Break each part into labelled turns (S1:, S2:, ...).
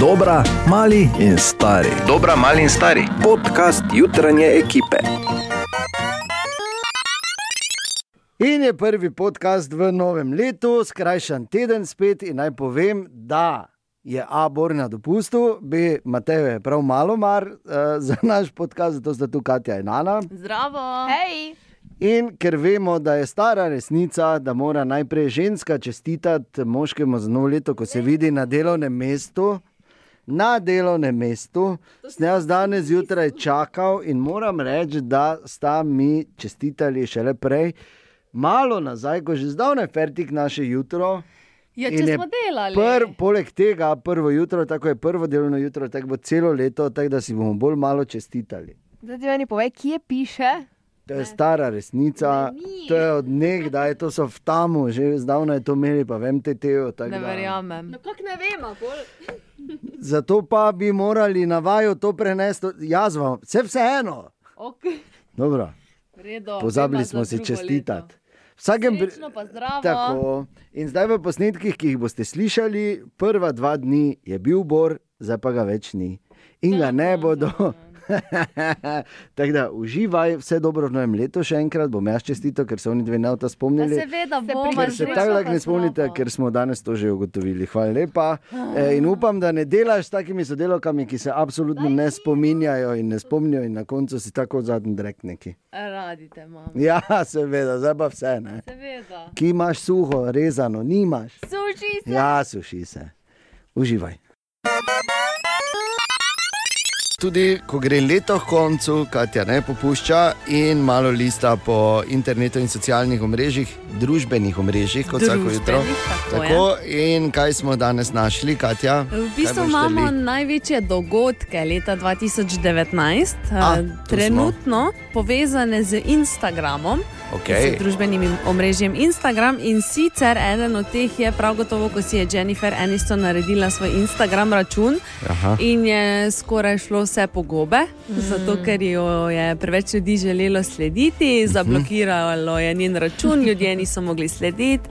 S1: Dobra, mali in stari.
S2: Dobra, mali in stari.
S1: Podcast jutranje ekipe.
S3: In je prvi podcast v novem letu, skrajšan teden spet. In naj povem, da je A. Bor na dopustu, B. Matejo je prav malo mar uh, za naš podcast, zato sta tu Katja in Ana.
S4: Zdravo.
S5: Hej,
S3: In ker vemo, da je stara resnica, da mora najprej ženska čestitati moškemu za novo leto, ko se vidi na delovnem mestu. Na delovnem mestu sem jaz danes zjutraj čakal in moram reči, da sta mi čestitali šele prej, malo nazaj, ko je že zdavne fertik naše jutro.
S4: Ja,
S3: In
S4: če
S3: je
S4: smo delali.
S3: Pr, poleg tega, prvo jutro, tako je prvo delovno jutro, tako bo celo leto, tako da si bomo bolj malo čestitali.
S5: zdaj ti meni povej, kje piše.
S3: To je stara resnica, to je od nekdaj, to so v tamu, že zdavno je to imeli, pa vem te teo. tako
S4: Ne
S3: da-
S4: verjamem.
S3: Zato pa bi morali na vaju to prenesti, jaz vam, vse vseeno.
S4: Okay.
S3: Dobro,
S4: Redo,
S3: pozabili smo si čestitati. V Vsakem pri-
S4: Srečno pa zdravo.
S3: Tako. In zdaj v posnetkih, ki jih boste slišali, prva dva dni je bil Bor, zdaj pa ga več ni. In ga ne bodo.
S4: ja.
S3: Tako da uživaj, vse dobro v novem letu, še enkrat bom jaz čestito, ker se oni dve ne bodo
S4: Ja,
S3: spomnili.
S4: seveda, bomo
S3: Ker se
S4: srečno
S3: tako lahko
S4: pa
S3: ne spomnite,
S4: zdravo.
S3: ker smo danes to že ugotovili. Hvala lepa. E, in upam, da ne delaš s takimi sodelavkami, ki se absolutno ne spominjajo in ne spomnijo, in na koncu si tako zadnji drek neki.
S4: E, Radite, mama.
S3: Ja, seveda, zdaj pa vse. Ne?
S4: Seveda.
S3: Ki imaš suho, rezano, nimaš.
S4: Suši se.
S3: Ja, suši se. Uživaj. Tudi, ko gre leto k koncu, Katja ne popušča in malo lista po internetu in socialnih omrežjih, družbenih omrežjih, kot vsako jutro.
S4: Družbenih, tako ja. je.
S3: Tako, in kaj smo danes našli, Katja?
S4: E, V
S3: Kaj
S4: bistvu
S3: boš
S4: imamo
S3: delil?
S4: največje dogodke leta 2019,
S3: A,
S4: eh,
S3: tu smo.
S4: trenutno povezane z Instagramom,
S3: Okej.
S4: z družbenim omrežjem Instagram. In sicer eden od teh je prav gotovo, ko si je Jennifer Aniston naredila svoj Instagram račun
S3: Aha.
S4: in je skoraj šlo vse pogobe, mm. zato ker jo je preveč ljudi želelo slediti,
S3: Mhm.
S4: zablokiralo je njen račun, ljudje niso mogli slediti,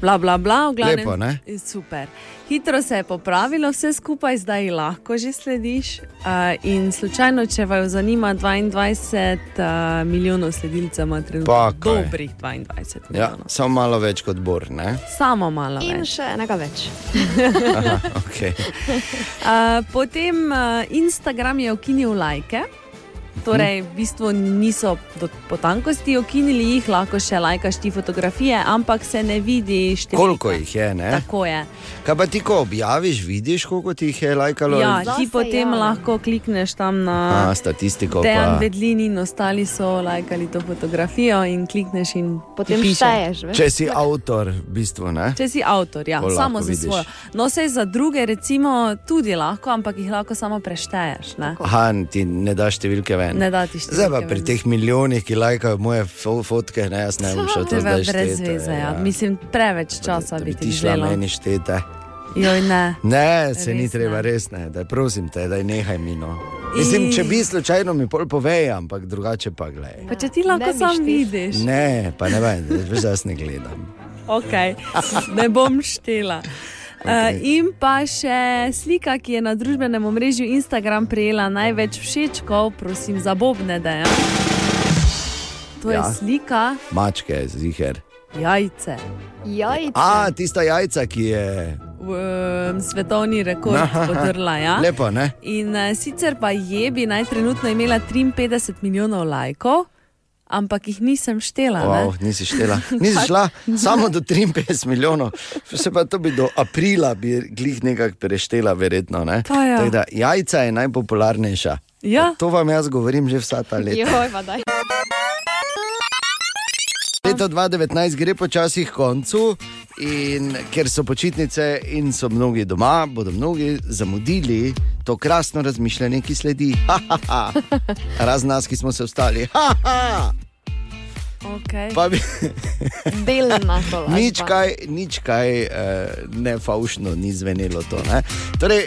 S4: bla bla bla. v glavnem-
S3: Lepo, ne?
S4: Super. Hitro se je popravilo, vse skupaj zdaj lahko že slediš. Uh, in slučajno, če vaju zanima, 22 uh, milijonov sledilcev ima
S3: Pa
S4: trenutno.
S3: kaj.
S4: Dobrih 22
S3: Ja,
S4: milijonov.
S3: samo malo več kot Bor. Ne?
S4: Samo malo
S5: In
S4: več.
S5: še enega več.
S3: Aha, okay.
S4: Uh, potem uh, Instagram je ukinil lajke. Torej, v bistvu niso do potankosti ukinili, jih lahko še lajkaš ti fotografije, ampak se ne vidi številka.
S3: Koliko jih je? Ne?
S4: Tako je.
S3: Kaj pa ti, ko objaviš, vidiš, koliko ti jih je lajkalo?
S4: Ja,
S5: Zase
S4: ti potem
S5: ja.
S4: lahko klikneš tam na
S3: A, statistiko.
S4: Dejan
S3: Pa.
S4: Bedlin in ostali so lajkali to fotografijo in klikneš in
S5: Potem
S4: ti piše.
S5: šteješ, veš?
S3: Če si avtor, v bistvu ne.
S4: Če si avtor, ja,
S3: Pol lahko
S4: samo za
S3: vidiš.
S4: svojo. No, sej za druge, recimo, tudi lahko, ampak jih lahko samo prešteješ. Ne,
S3: Aha, ti ne daš številke ven.
S4: ne da ti štiri.
S3: Zdaj pa pri teh milijonih, ki lajkajo moje fo- fotke, ne, jaz ne bom šel
S4: To
S3: to
S4: je
S3: zdaj
S4: brez
S3: šteti.
S4: veze, ja. mislim, preveč časa
S3: da
S4: bi
S3: bi
S4: ti
S3: ti šla
S4: želel.
S3: meni štete.
S4: Joj, ne.
S3: Ne, se
S4: Res ne.
S3: ni treba, res ne, da prosim te, da nehaj mino. Mislim, če bi slučajno mi pol povej, ampak drugače pa gledaj.
S4: Pa če ti lahko
S5: Ne bi
S4: sam
S5: štel.
S4: vidiš, ne.
S3: Ne, pa ne vem, veš, jaz ne gledam.
S4: Okay. ne bom štela. Okay. Uh, in pa še slika, ki je na družbenem omrežju Instagram prejela največ všečkov, prosim, zabobne da je. To je
S3: Ja.
S4: slika
S3: Mačke, ziger.
S4: jajce.
S5: Jajce.
S4: Ja.
S3: A, tista jajca, ki je
S4: Um, svetovni rekord
S3: Aha.
S4: podrla. Ja?
S3: lepo, ne?
S4: In uh, sicer pa je bi naj trenutno imela 53 milijonov lajkov, ampak jih nisem štela. ne.
S3: Wow, nisi štela, nisi šla, samo do 53 milijonov, se pa to bi do aprila, bi glih nekako preštela, verjetno. Ne?
S4: Pa ja.
S3: Tako Da, jajca je najpopularnejša.
S4: Ja.
S3: To vam jaz govorim že vsa ta leta.
S5: Joj, pa daj.
S3: Leto 2019 gre počasi k koncu, in ker so počitnice in so mnogi doma, bodo mnogi zamudili to krasno razmišljanje, ki sledi. Ha, ha, ha. Razen nas, ki smo se vstali. Ha, ha.
S4: Okay.
S3: Pa bi.
S5: Delna to.
S3: Nič kaj, nič kaj eh, nefaušno ni zvenelo to. Ne? Torej, eh,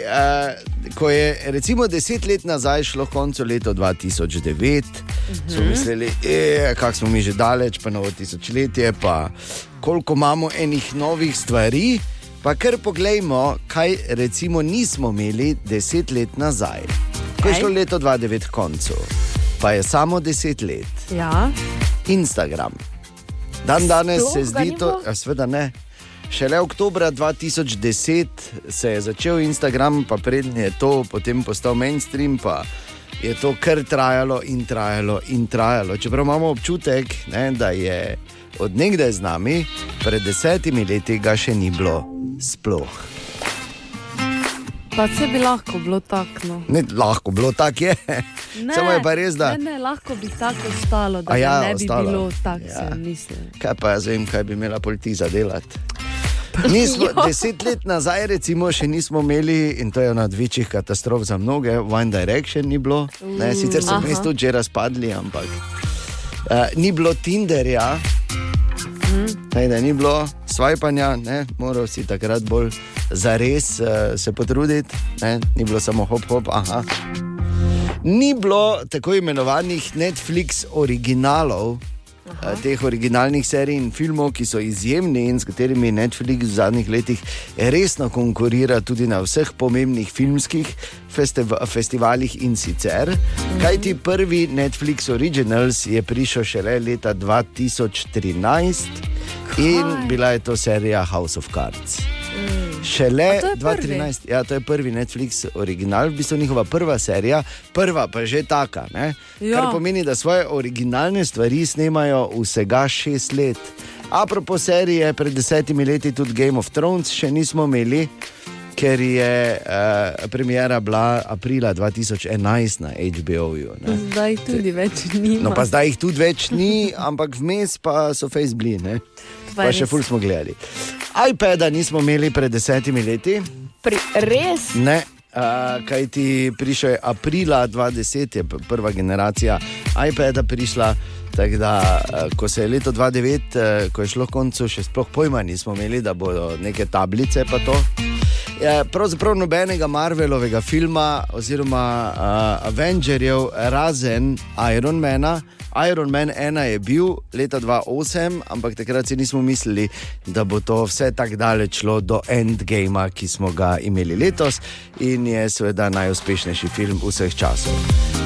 S3: ko je recimo deset let nazaj šlo koncu leta 2009, so mislili, eh, kako smo mi že daleč, pa novo tisočletje, pa koliko imamo enih novih stvari. Pa kar poglejmo, kaj recimo nismo imeli deset let nazaj. Ko je
S4: Kaj?
S3: šlo leto 2009 k koncu, pa je samo deset let.
S4: Ja.
S3: Instagram. Dan danes
S5: Sploh
S3: se
S5: ga
S3: zdi
S5: ni
S3: to,
S5: bilo?
S3: a seveda ne. Šele oktobra 2010 se je začel Instagram, pa prednje je to potem postal mainstream, pa je to kar trajalo in trajalo in trajalo. Čeprav imamo občutek, ne, da je odengdaj z nami, pred desetimi leti ga še ni bilo sploh.
S4: Pa se bi lahko bilo no. takno.
S3: Ne, lahko bilo tako je. Samo je pa res, da.
S4: Ne, ne, lahko bi tako ostalo, da
S3: A ja,
S4: ja, ne bi
S3: ostalo.
S4: ostalo. bilo tako,
S3: Ja.
S4: ja. sem mislil.
S3: Kaj pa jaz vem, kaj bi imela politika delati. Mi smo deset let nazaj, recimo, še nismo imeli, in to je ena od večjih katastrof za mnoge, One Direction ni bilo. Ne, sicer so
S4: aha.
S3: vmes tudi že razpadli, ampak uh, ni bilo Tinderja, ne, da ni bilo svajpanja, ne, moral si takrat bolj zares uh, se potruditi, ne, ni bilo samo hop, hop, aha. Ni bilo tako imenovanih Netflix originalov, Aha. teh originalnih serij in filmov, ki so izjemni in s katerimi Netflix v zadnjih letih resno konkurira tudi na vseh pomembnih filmskih festiv festivalih in sicer. Kajti prvi Netflix Originals je prišel šele leta 2013 in
S4: Kaj? Mm.
S3: bila je to serija House of Cards. Šele
S4: A to je prvi?
S3: 2013, ja, to je prvi Netflix original, v bistvu njihova prva serija, prva pa že taka. Ne?
S4: Ja.
S3: Kar pomeni, da svoje originalne stvari snemajo vsega šest let. Apropo serije, pred desetimi leti tudi Game of Thrones še nismo imeli, ker je uh, premijera bila aprila 2011 na HBO-ju. Mm.
S4: Zdaj tudi več ni.
S3: No, pa zdaj jih tudi več ni, ampak vmes pa so fejs bili. Ne?
S4: Pa
S3: Pa
S4: je
S3: še
S4: res.
S3: ful smo gledali. iPada nismo imeli pred desetimi leti,
S5: Pri, res?
S3: ne. Uh, kaj ti prišel je aprila 2010, je p- prva generacija iPada prišla. Tako da, eh, ko se je leto 2009, eh, ko je šlo k koncu, še sploh pojma nismo imeli, da bodo neke tablice pa to. Je, pravzaprav nobenega Marvelovega filma oziroma uh, Avengerjev, razen Ironmana. Iron Man 1 je bil leta 2008, ampak takrat si nismo mislili, da bo to vse tako daleč šlo do endgama, ki smo ga imeli letos in je seveda najuspešnejši film vseh časov.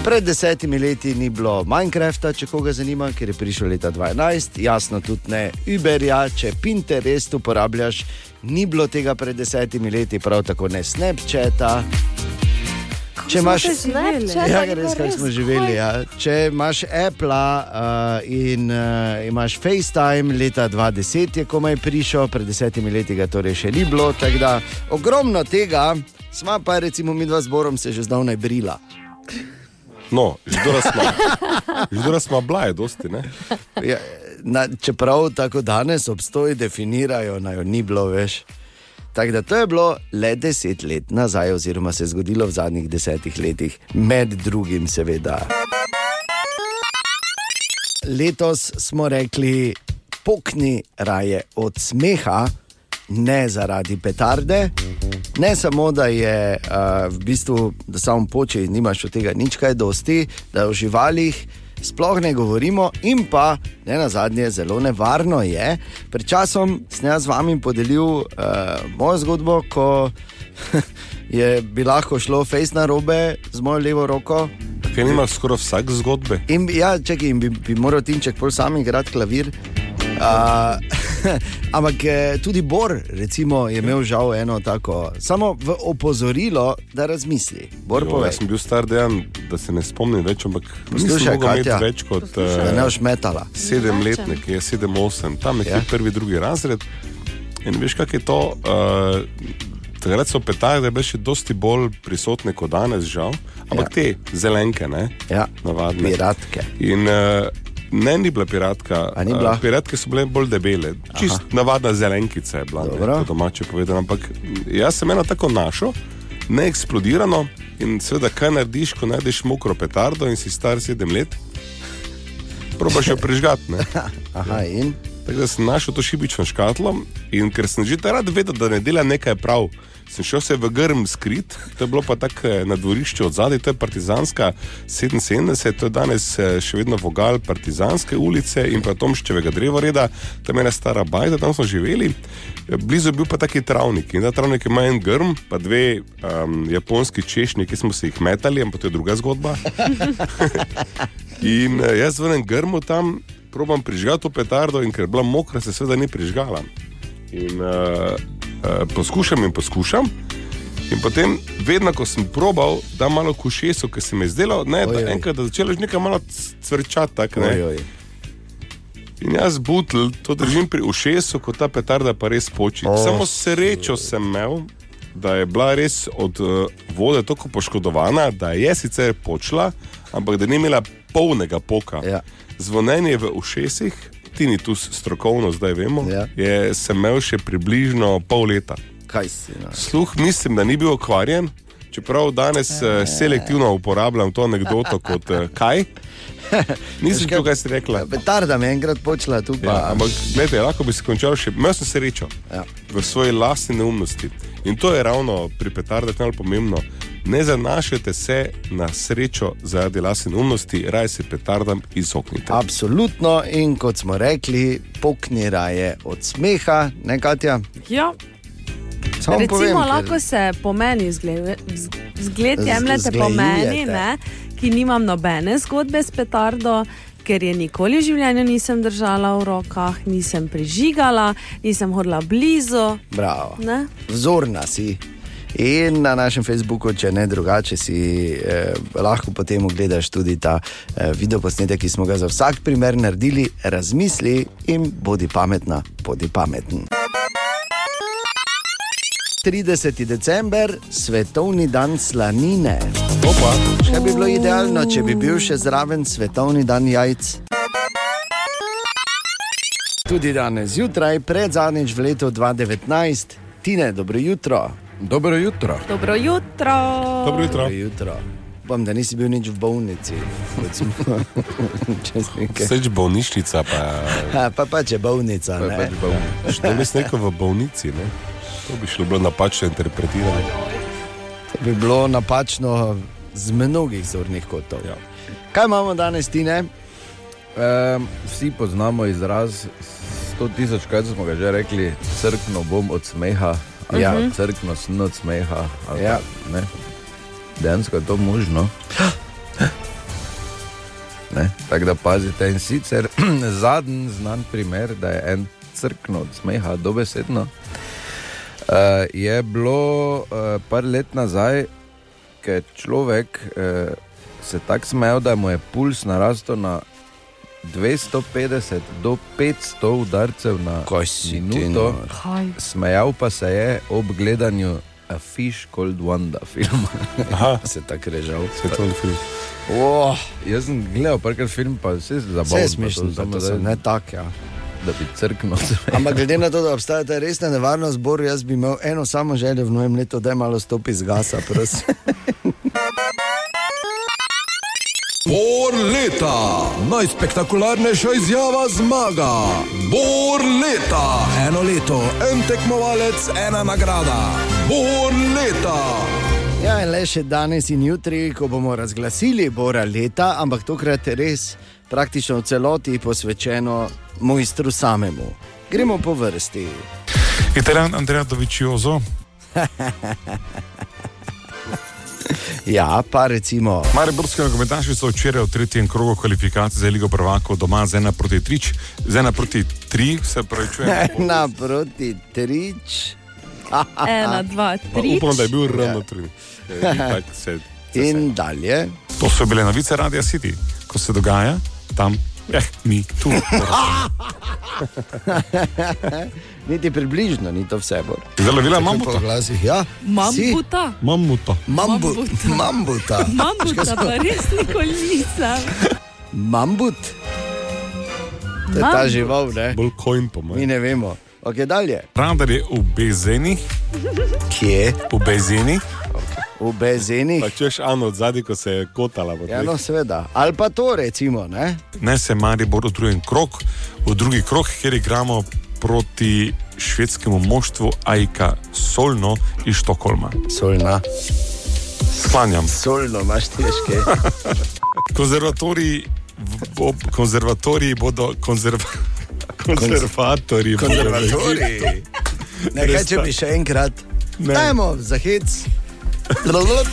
S3: Pred desetimi leti ni bilo Minecrafta, če koga zanima, ker je prišel leta 2011, jasno tudi ne Uberja, če Pinterest uporabljaš, ni bilo tega pred desetimi leti, prav tako ne Snapchata. Če imaš,
S5: Snapchat?
S3: Ja,
S5: Ali pa
S3: res, kaj
S5: res,
S3: smo
S5: kaj?
S3: živeli. Ja. Če imaš Apple uh, in uh, imaš FaceTime, leta 2010 je komaj prišel, pred desetimi leti ga torej še ni bilo. tako Da, ogromno tega, sva pa recimo mi dva z Borom se že zdavnaj brila.
S6: No, židora smo. Židora smo bila, je dosti, ne?
S3: Ja, na, čeprav tako danes obstoji definirajo, da jo ni bilo več. Tako da to je bilo le deset let nazaj, oziroma se je zgodilo v zadnjih desetih letih, med drugim, seveda. Letos smo rekli, pokni raje od smeha, ne zaradi petarde. Ne samo, da je uh, v bistvu, da samo poče in nimaš od tega nič kaj dosti, da o živalih sploh ne govorimo, in pa ne na zadnje, zelo nevarno je. Pred časom sem jaz z vami podelil uh, mojo zgodbo, ko je bi lahko šlo face na robe z mojo levo roko.
S6: Kaj nimaš skoraj vsak zgodbe?
S3: In, bi- ja, čakaj, in bi, bi moral Timček bolj sam igrati klavir. Uh, ampak eh, tudi Bor recimo, je imel žal eno tako, samo v opozorilo, da razmisli. Bor
S6: Jo,
S3: pove,
S6: jaz sem bil star dejan, da se ne spomnim več, ampak
S3: Poslušaj,
S6: nisem mogel imeti
S3: Katja.
S6: več kot
S3: da
S6: eh,
S3: ne boš metala.
S6: sedem let, nekje sedem, osem, tam nekje
S3: Ja.
S6: ja. prvi, drugi razred. In veš, kak je to? Uh, takrat so petarde bile še dosti bolj prisotne kot danes, žal. Ampak ja. te zelenke, ne?
S3: Ja,
S6: Navadne.
S3: piratke.
S6: In uh, ne, ni bila piratka.
S3: A ni bila?
S6: Eh, piratke so bile bolj debele, čist Aha. navadna zelenkica je bila, ne,
S3: Dobro.
S6: po domače povedano. Ampak mm, jaz sem eno tako našel, neeksplodirano. In seveda, kaj narediš, ko narediš mokro petardo in si star sedem let, probaš jo prižgati. ne.
S3: Aha, in
S6: Tako da sem našel to šibično škatlo in ker sem že takrat vedel, da ne dela nekaj prav, sem šel se v grm skrit, to je bilo pa tako eh, na dvorišču od zadaj, to je Partizanska 77, to je danes eh, še vedno vogal Partizanske ulice in pa Tomščevega drevoreda, tam je ena stara bajda, tam smo živeli. Eh, Blizu je bil pa taki travnik in ta travnik ima en grm, pa dve um, japonski češnji, ki smo se jih metali, ampak to je druga zgodba. In eh, jaz vrnem grmo tam, probam prižgati to petardo, in ker je bila mokra, se seveda ni prižgala. In, uh, uh, poskušam in poskušam. In potem, vedno, ko sem probal, da malo kušesu, ki se mi je zdelo, ne,
S3: Ojoj.
S6: da enkrat da začelo že nekaj malo cvrčati. tak, ne.
S3: Oj, oj.
S6: In jaz butl, to držim pri ušesu, ko ta petarda pa res poči.
S3: O,
S6: Oh, Samo srečo sem imel, da je bila res od uh, vode tako poškodovana, da je sicer počla, ampak da ni imela polnega poka.
S3: Ja.
S6: Zvonjenje v ušesih, ti ni tu strokovno, zdaj vemo,
S3: Ja.
S6: je sem imel še približno pol leta.
S3: Kaj si? No?
S6: Sluh mislim, da ni bil okvarjen, čeprav
S3: E.
S6: danes eh, selektivno uporabljam to anegdoto kot eh, kaj. Nisem
S3: kaj-
S6: to, kaj si rekla.
S3: Petarda me je enkrat počela tu, pa
S6: Ja, ampak, gledajte, lahko bi se končal še, imel sem srečo ja.
S3: Ja.
S6: v svoji lastni neumnosti. In to je ravno pri petardah najbolj pomembno. Ne zanašajte se na srečo zaradi lastne neumnosti, raje se petardam izognite.
S3: Absolutno, in kot smo rekli, pokni raje od smeha, ne Katja.
S4: Ja.
S3: Samo
S4: Recimo,
S3: povem, ker-
S4: lahko se po meni zgled, z- zgled
S3: Z-
S4: jemljete po meni,
S3: zglejujete.
S4: ne, ki nimam nobene zgodbe s petardo. Ker je nikoli v življenju nisem držala v rokah, nisem prižigala, nisem hodila blizu.
S3: Bravo.
S4: Ne?
S3: Vzorna si. In na našem Facebooku, če ne drugače, si eh, lahko potem ogledaš tudi ta eh, videoposnetek, ki smo ga za vsak primer naredili. Razmisli in bodi pametna, bodi pameten. 30. december, svetovni dan slanine. Opa. Kaj bi bilo idealno, če bi bil še zraven svetovni dan jajc? Tudi danes zjutraj, pred zadnjič v letu 2019, Tine, dobro jutro.
S1: Dobro jutro.
S4: Dobro jutro.
S6: Dobro jutro.
S3: Dobro jutro. Upam, da nisi bil nič v bolnici. kot smo Čez nekaj.
S6: Sreč bolnišnica, pa
S3: Ha, Pa pač je bolnica.
S1: Pa je
S3: ne.
S1: pač bolnišnica.
S6: še bi se rekel v bolnici. Ne? To bi šlo bilo napačno interpretirano.
S3: To bi bilo napačno z mnogih zornih kotov.
S6: Ja.
S3: Kaj imamo danes, Tine?
S1: Ehm, vsi poznamo izraz 100 tisoč, kaj smo ga že rekli, crkno bom od smeha, ali
S3: Ja.
S1: ja. crkno sem od smeha. ali pa,
S3: Ja.
S1: ne. Dejansko je to možno. Ne, Tako da pazite. In sicer zadnji znan primer, da je en crkno od smeha, dobesedno. Uh, je bilo uh, par let nazaj, ko je človek uh, se tako smejal, da mu je puls narastel na 250 do 500 udarcev na
S3: Kaj si ti no?
S1: minuto.
S3: nor?
S4: Kaj?
S1: Smejal pa se je ob gledanju A Fish Called Wanda filma.
S6: Aha,
S3: Se tako režal.
S6: svetovni film.
S3: Oh,
S1: Jaz sem gledal parkrat film, pa vse je zabavno.
S3: vse
S1: pa
S3: je
S1: to
S3: smešno,
S1: samo
S3: da
S1: zdaj,
S3: se ne tako. Ja.
S1: Da bi crknil.
S3: Ampak glede na to, da obstaja ta resna nevarnost, Bor, jaz bi imel eno samo željo v novem letu, da je malo stopi z gasa. prosim.
S1: Bor leta, najspektakularnejša izjava zmaga. Bor leta, eno leto, en tekmovalec, ena nagrada. Bor leta.
S3: Ja, in le še danes in jutri, ko bomo razglasili Bora leta, ampak tokrat res praktično v celoti posvečeno mojstru samemu. Gremo po vrsti.
S7: Italijan Andrea Dovicioso,
S3: Ja, pa recimo.
S7: Mariborski nogometaši so včeraj v tretjem krogu kvalifikacij za Ligo prvakov doma z 1 proti 3, z 1 proti 3, se pravi, čujem.
S3: Ena proti trič
S4: Ena, dva,
S6: Pa
S4: tri.
S6: Upam, da je bil ravno tri. Eh, in tako se- se-
S3: in dalje.
S7: To so bile novice Radia City, ko se dogaja tam, eh, mi tu.
S3: Niti približno ni to vse. Bor.
S7: Zelo vila imam,
S3: Po glasih, ja.
S4: Imam
S3: Si?
S4: buta.
S7: imam muto.
S3: Mambu,
S4: Mambuta.
S3: mambuta.
S4: Imam buta, pa res nikoli nisem.
S3: Mambut. To je ta
S4: Mambut.
S3: žival, ne?
S6: Bolj kojn pomeni.
S3: Mi ne vemo. Ok, dalje.
S7: Pravdar je v Bezeni,
S3: Kje?
S7: v Bezeni,
S3: v bezenih.
S6: Pa češ Ano od zadaj, ko se je kotala. po
S3: Ja,
S6: tleh.
S3: no, seveda. Ali pa to, recimo, ne?
S7: Nese Maribor utrujen krok, v drugi krok, kjer igramo proti švedskemu moštvu Aika Solno iz Štokholma.
S3: solna.
S7: Sklanjam.
S3: Solno imaš težke.
S7: Konzervatoriji, v- ob konzervatoriji bodo konzerv... konzervatorji. bodo-
S3: Konzervatoriji. Nekaj, če bi še enkrat. Dajmo za hec. Lulul.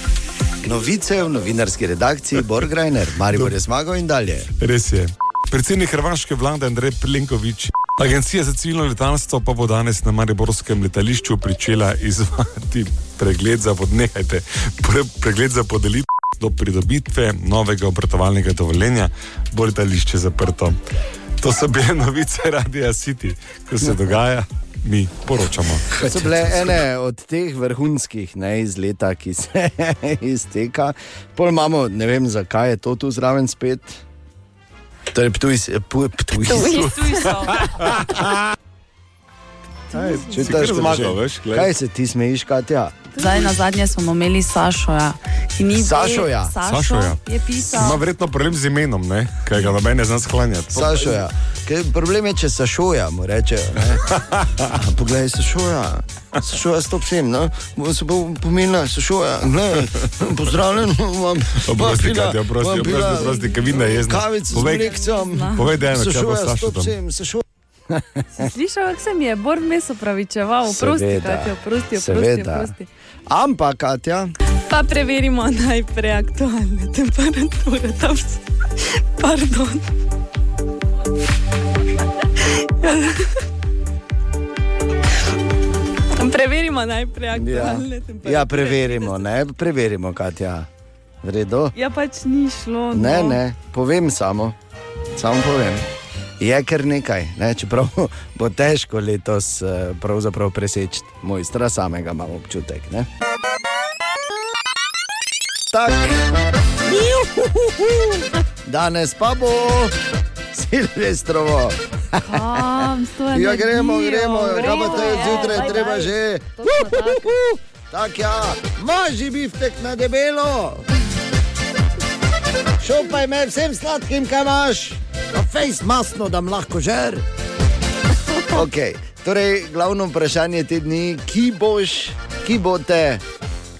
S3: Novice v novinarski redakciji Borgrajner, Maribor je zmagal in dalje.
S7: Res je. Predsednik hrvaške vlade Andrej Plenković. Agencija za civilno letalstvo pa bo danes na Mariborskem letališču pričela izvajati pregled za, pod, nehajte, pre, pregled za podelitev do pridobitve novega obratovalnega dovoljenja, bo letališče zaprto. To so bile novice Radia City, ko se dogaja, mi poročamo.
S3: To so bile ene od teh vrhunskih ne, iz leta, ki se izteka. Pol imamo, ne vem, zakaj je to tu zraven spet. Torej, ptuj, ptuj, ptuj.
S4: Tuj so.
S3: Če
S6: Si kar zmagal, veš, glej.
S3: Kaj se ti smejiš, Katja?
S5: Zdaj na zadnje smo imeli Sašoja, ki ni bil-
S3: Sašoja?
S5: Sašo
S7: Sašoja.
S5: Je
S7: Ima
S5: pisal.
S7: verjetno problem z imenom, ne? kaj ga noben ne zna sklanjati.
S3: Sašoja. ja. Ker problem je, če sašoja, mu rečejo. ne. A, Poglej, sašoja. Sašoja, stop sem, no? Bo se bo pomenila, sašoja. Glej, pozdravljen, vam.
S6: Oprosti, Katja, oprosti, oprosti, oprosti, ker vidim, da je jezna.
S3: Kavico z
S6: Povej-
S3: mlekcem.
S6: Povej, da je ena, kaj bo
S3: Sašoja,
S6: Sašo
S3: stop
S6: tam.
S3: sem, sašoja.
S4: Slišal, kako se mi je Bor mes opravičeval, oprosti,
S3: Seveda.
S4: Katja, oprosti, oprosti,
S3: Seveda.
S4: oprosti.
S3: Ampak, Katja,
S4: Pa preverimo najprej aktualne temperature. Tam s- Pardon. Preverimo najprej
S3: ja,
S4: aktualne temperature.
S3: ja preverimo, ne? Preverimo, Katja. V redu?
S4: Ja, pač ni šlo.
S3: Ne,
S4: no.
S3: ne, povem samo, samo povem. Je kar nekaj, ne? čeprav bo težko letos eh, pravzaprav preseči mojstra samega, imam občutek. Ne? Tako. Juhuhuhu. Danes pa bo silvestrovo.
S4: Kam s to
S3: Ja, gremo,
S4: energijo?
S3: gremo, kaj pa
S4: Gremo,
S3: te
S4: ja,
S3: zjutraj,
S4: daj,
S3: treba
S4: daj.
S3: že.
S4: Točno tako.
S3: Tako ja, maži biftek na debelo. Šopaj me vsem sladkim, kaj imaš, pa fejs masno, da mi lahko žer. Okay, torej, glavno vprašanje te dni, ki boš, ki bo te,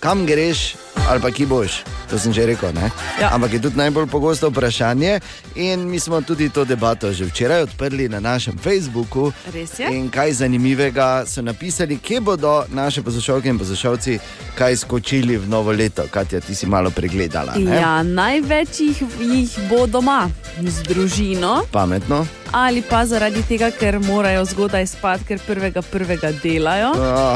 S3: kam greš, ali pa ki boš. To sem že rekel. ne?
S4: Ja.
S3: Ampak je tudi najbolj pogosto vprašanje, in mi smo tudi to debato že včeraj odprli na našem Facebooku.
S4: Res je.
S3: In kaj zanimivega so napisali, kje bodo naše poslušalke in poslušalci kaj skočili v novo leto. Katja, ti si malo pregledala. Ne?
S4: Ja, največ jih, jih bo doma z družino
S3: Pametno.
S4: ali pa zaradi tega, ker morajo zgodaj spati, ker prvega prvega delajo.
S3: Ah,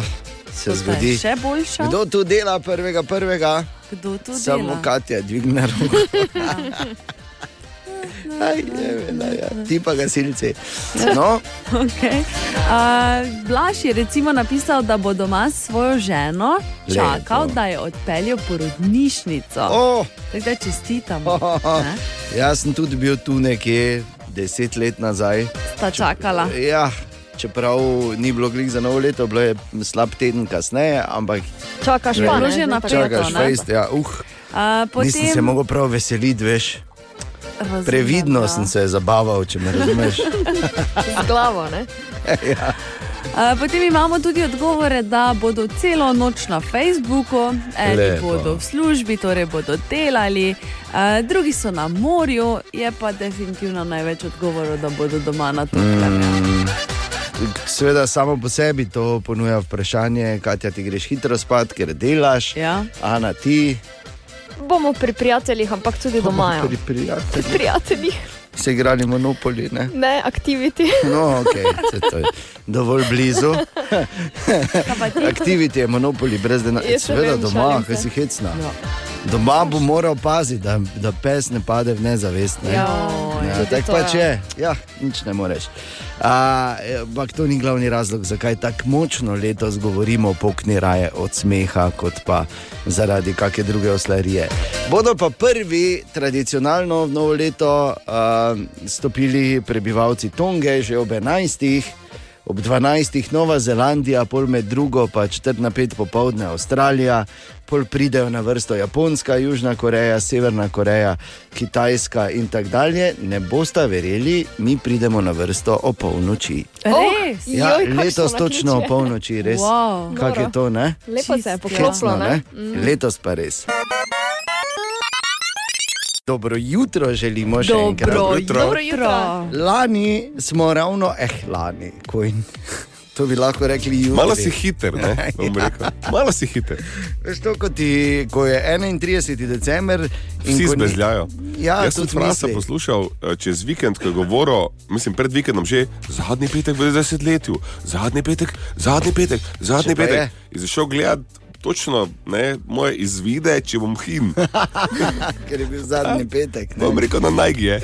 S3: se
S4: To sta
S3: zgodi.
S4: Še boljša.
S3: Kdo tu dela prvega, prvega?
S4: Kdo to
S3: Samo
S4: dela?
S3: Katja, dvigne roko. Aj, je, vela, ja. Ti pa gasilci. No,
S4: Okay. Uh, Blaž je recimo napisal, da bo doma s svojo ženo čakal,
S3: Lepo.
S4: da je odpeljal porodnišnico.
S3: oh,
S4: Tako da čestitam.
S3: oh, oh.
S4: Ne?
S3: Jaz sem tudi bil tu nekje deset let nazaj.
S4: Sta čakala.
S3: Ja, čeprav ni bilo glih za novo leto, bilo je slab teden kasneje, ampak
S5: Čakaš
S3: Ja.
S5: pa, ne?
S4: Bilo že
S5: Zdaj pa
S4: napeto,
S5: čakaš.
S3: čakaš,
S4: ne?
S3: fejst, ja, uh,
S4: Uh,
S3: nisem se mogel prav veseliti, veš.
S4: razumem,
S3: Previdno
S5: ja.
S4: da.
S3: sem se zabaval, če me razumeš.
S5: Z glavo, ne?
S4: A, Potem imamo tudi odgovore, da bodo celo noč na Facebooku, eni Lepo.
S3: Lepo.
S4: bodo v službi, torej bodo delali, a, drugi so na morju, je pa definitivno največ odgovorov, da bodo doma na
S3: Mm.
S4: toplem.
S3: Seveda, samo po sebi to ponuja vprašanje, Katja, ti greš hitro spat, ker delaš,
S4: Ja.
S3: Ana, ti.
S5: Bomo pri prijateljih, ampak tudi doma. ja.
S3: Pri prijateljih
S5: Prijateljih,
S3: se igrali monopoli, ne?
S5: ne aktiviti.
S3: No, ok, se to je dovolj blizu. Aktiviti je monopoli, brez denarja.
S5: Jaz ne
S3: Seveda
S5: vem,
S3: doma,
S5: šalim
S3: kaj
S5: se.
S3: si hecna.
S5: Ja.
S3: Doma bo moral paziti, da, da pes ne pade v nezavest. Ne? Ja,
S5: tudi
S3: tako
S5: to,
S3: pač
S5: ja.
S3: je, ja, nič ne moreš. A, eh, Ampak to ni glavni razlog, zakaj tako močno letos govorimo, pokni raje od smeha, kot pa zaradi kakšne druge oslarije. Bodo pa prvi tradicionalno v novo leto a, stopili prebivalci Tonge, že ob 11. ob 12. Nova Zelandija, pol med drugo, pa četrt na pet popovdne Avstralija, pol pridejo na vrsto Japonska, Južna Koreja, Severna Koreja, Kitajska in tako dalje. Ne boste verjeli, mi pridemo na vrsto o polnoči.
S4: Res?
S3: Ja,
S5: Joj, kakšno
S3: letos točno o
S5: naključje.
S3: polnoči, res.
S4: Wow.
S3: Kak je
S5: Noro.
S3: to, ne?
S5: Lepo se je
S4: Čisto.
S5: poklopilo, ne?
S3: Mm. Letos pa res. Dobro jutro želimo še enkrat.
S4: Dobro jutro.
S5: jutro. Dobro jutro.
S3: Lani smo ravno, eh, lani, kojn. To bi lahko rekli jutri.
S6: Malo si hiter,
S3: Ja.
S6: ne? bom rekel. Malo si hiter.
S3: Veš to, ko, ti, ko je 31. december in
S6: Vsi
S3: ko ni-
S6: zbežljajo.
S3: Ja,
S6: Jaz sem
S3: tudi
S6: Franca
S3: misli.
S6: poslušal eh, čez vikend, ko je govoril, mislim, pred vikendom že zadnji petek v desetletju, zadnji petek, zadnji petek, zadnji
S3: Če pa
S6: petek.
S3: je.
S6: In zašel gledati točno ne, moje izvide, če bom hin.
S3: Ker je bil
S6: Ah.
S3: zadnji petek. ne.
S6: Bom rekel, na najgi je.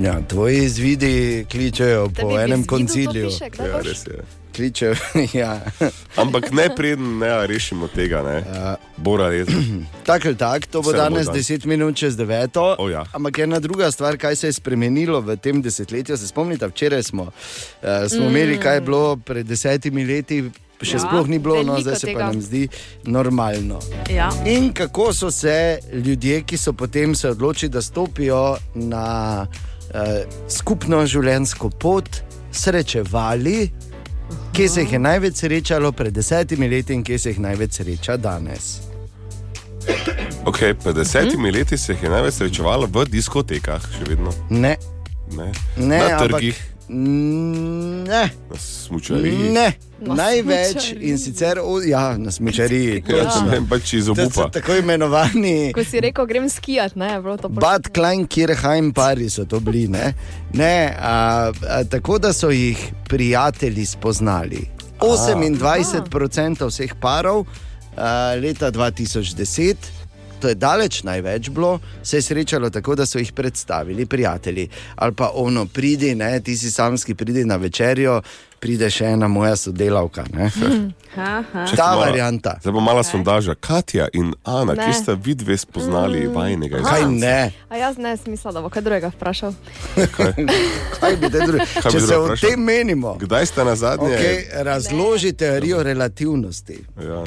S3: Ja, tvoji izvidi
S5: Da
S3: kličejo
S5: bi
S3: po
S5: v
S3: enem
S5: izvidu to
S3: konciliju.
S5: piše, kdaj
S6: Ja,
S5: boš?
S6: res je.
S3: Kličejo, ja.
S6: Ampak ne preden ne rešimo tega, ne.
S3: Ja.
S6: Bora res.
S3: Tako ali tako, to bo
S6: Vse bo
S3: danes
S6: dan.
S3: 10 minut čez 9.
S6: O, ja.
S3: Ampak ena druga stvar, kaj se je spremenilo v tem desetletju, se spomnite, včeraj smo, uh, smo mm. imeli, kaj je bilo pred desetimi leti, še ja,
S4: Ja,
S3: sploh ni bilo, no
S5: veliko
S3: zdaj se tega.
S5: tega.
S3: pa nam zdi normalno.
S4: Ja.
S3: In kako so se ljudje, ki so potem se odločili, da stopijo na uh, skupno življenjsko pot, srečevali, kje se jih je največ srečalo pred desetimi leti in kje se jih največ sreča danes.
S6: Okay, pred desetimi leti se jih je največ srečevalo v diskotekah, še vedno.
S3: Ne,
S6: Ne.
S3: ne,
S6: na
S3: ampak-
S6: trgih,
S3: Ne,
S6: na smučariji.
S3: ne.
S5: Na
S3: največ
S5: smučariji.
S3: in sicer o, ja, na smečariji.
S6: Ja. Ne, pač iz
S3: To so
S6: obupa.
S3: tako imenovani.
S5: Ko si rekel, grem skijat, ne, je bilo to bolj-
S3: Bad Klein, Kirheim, pari so to bili. Ne? Ne, a, a, tako da so jih prijatelji spoznali. 28% vseh parov a, leta 2010. To je daleč največ bilo, se je srečalo tako, da so jih predstavili prijatelji. Ali pa ono, pridi, ne, ti si samski, pridi na večerjo, pride še ena moja sodelavka. ne.
S4: Aha.
S6: Čakaj
S3: Ta
S6: malo.
S3: varianta.
S6: Zdaj bo mala okay. sondaža. Katja in Ana,
S5: Ne.
S6: ki sta vidve spoznali mm. vajnega
S3: Kaj ne?
S5: A jaz ne, smisla, da bo kaj drugega vprašal.
S3: Kaj bi te drugi?
S6: bi
S3: Če se
S6: drugo
S3: o
S6: vprašal?
S3: tem menimo.
S6: Kdaj ste na zadnje?
S3: Okay, razloži teorijo relativnosti.
S6: Ja,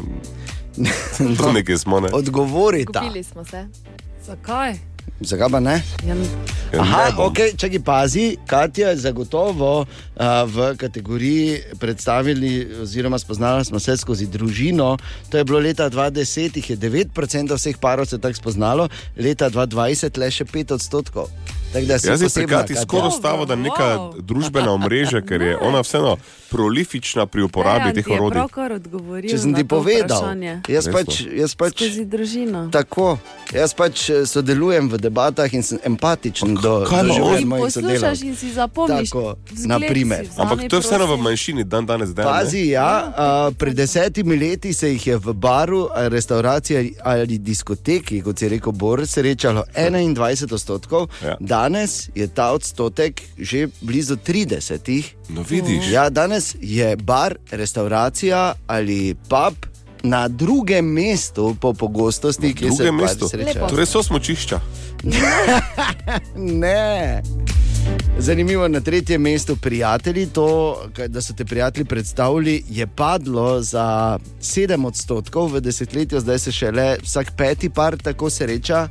S6: to nekaj smo, ne?
S3: Odgovorite.
S5: Kupili smo se.
S4: Zakaj?
S3: Zakaj pa ne?
S4: Ja,
S6: Ja,
S3: Aha,
S6: ne bom.
S3: ok, če ki pazi, Katja je zagotovo uh, v kategoriji predstavili, oziroma spoznali smo se skozi družino. To je bilo leta 2010, jih je 9% vseh parov se tako spoznalo, leta 2020 le še 5 odstotkov. Tako da si
S6: Jaz bi se
S3: posebna,
S6: Katji
S3: Katja.
S6: skoraj stavo, da je neka
S4: wow.
S6: družbena omrežja, ker je ona vseeno prolifična pri uporabi
S4: Dejan
S6: teh
S4: ti je
S6: orodij.
S4: pravkar odgovoril
S3: Če sem
S4: na
S3: ti
S4: to
S3: povedal,
S4: vprašanje.
S3: jaz
S6: Resno.
S3: pač, jaz pač
S4: Skozi družino.
S3: Tako, jaz pač eh, sodelujem v debatah in sem empatičen do,
S6: kaj ima on?
S3: do življenja
S4: In
S3: mojih
S4: poslušaš
S3: sodelavcev.
S4: in si zapomniš.
S3: Tako,
S4: Vzgled
S3: na primer.
S4: si vzemi,
S6: Ampak to je vseeno v
S4: prosim.
S6: manjšini, dan danes, dan.
S3: Pazi, ja, a, pred desetimi leti se jih je v baru, a, restavraciji ali diskoteki, kot je rekel Boris, srečalo 21 odstotkov,
S6: Ja.
S3: danes je ta odstotek že blizu 30.
S6: No, vidiš.
S3: Ja, danes je bar, restauracija ali pub na drugem mestu po pogostosti, ki se pač
S6: Drugem
S3: pari
S6: mestu.
S3: srečajo.
S6: Torej so smočišča.
S3: Ne. Zanimivo, na tretjem mestu prijatelji, to, kaj- da so te prijatelji predstavili, je padlo za 7 odstotkov v desetletju, zdaj se šele vsak peti par tako sreča.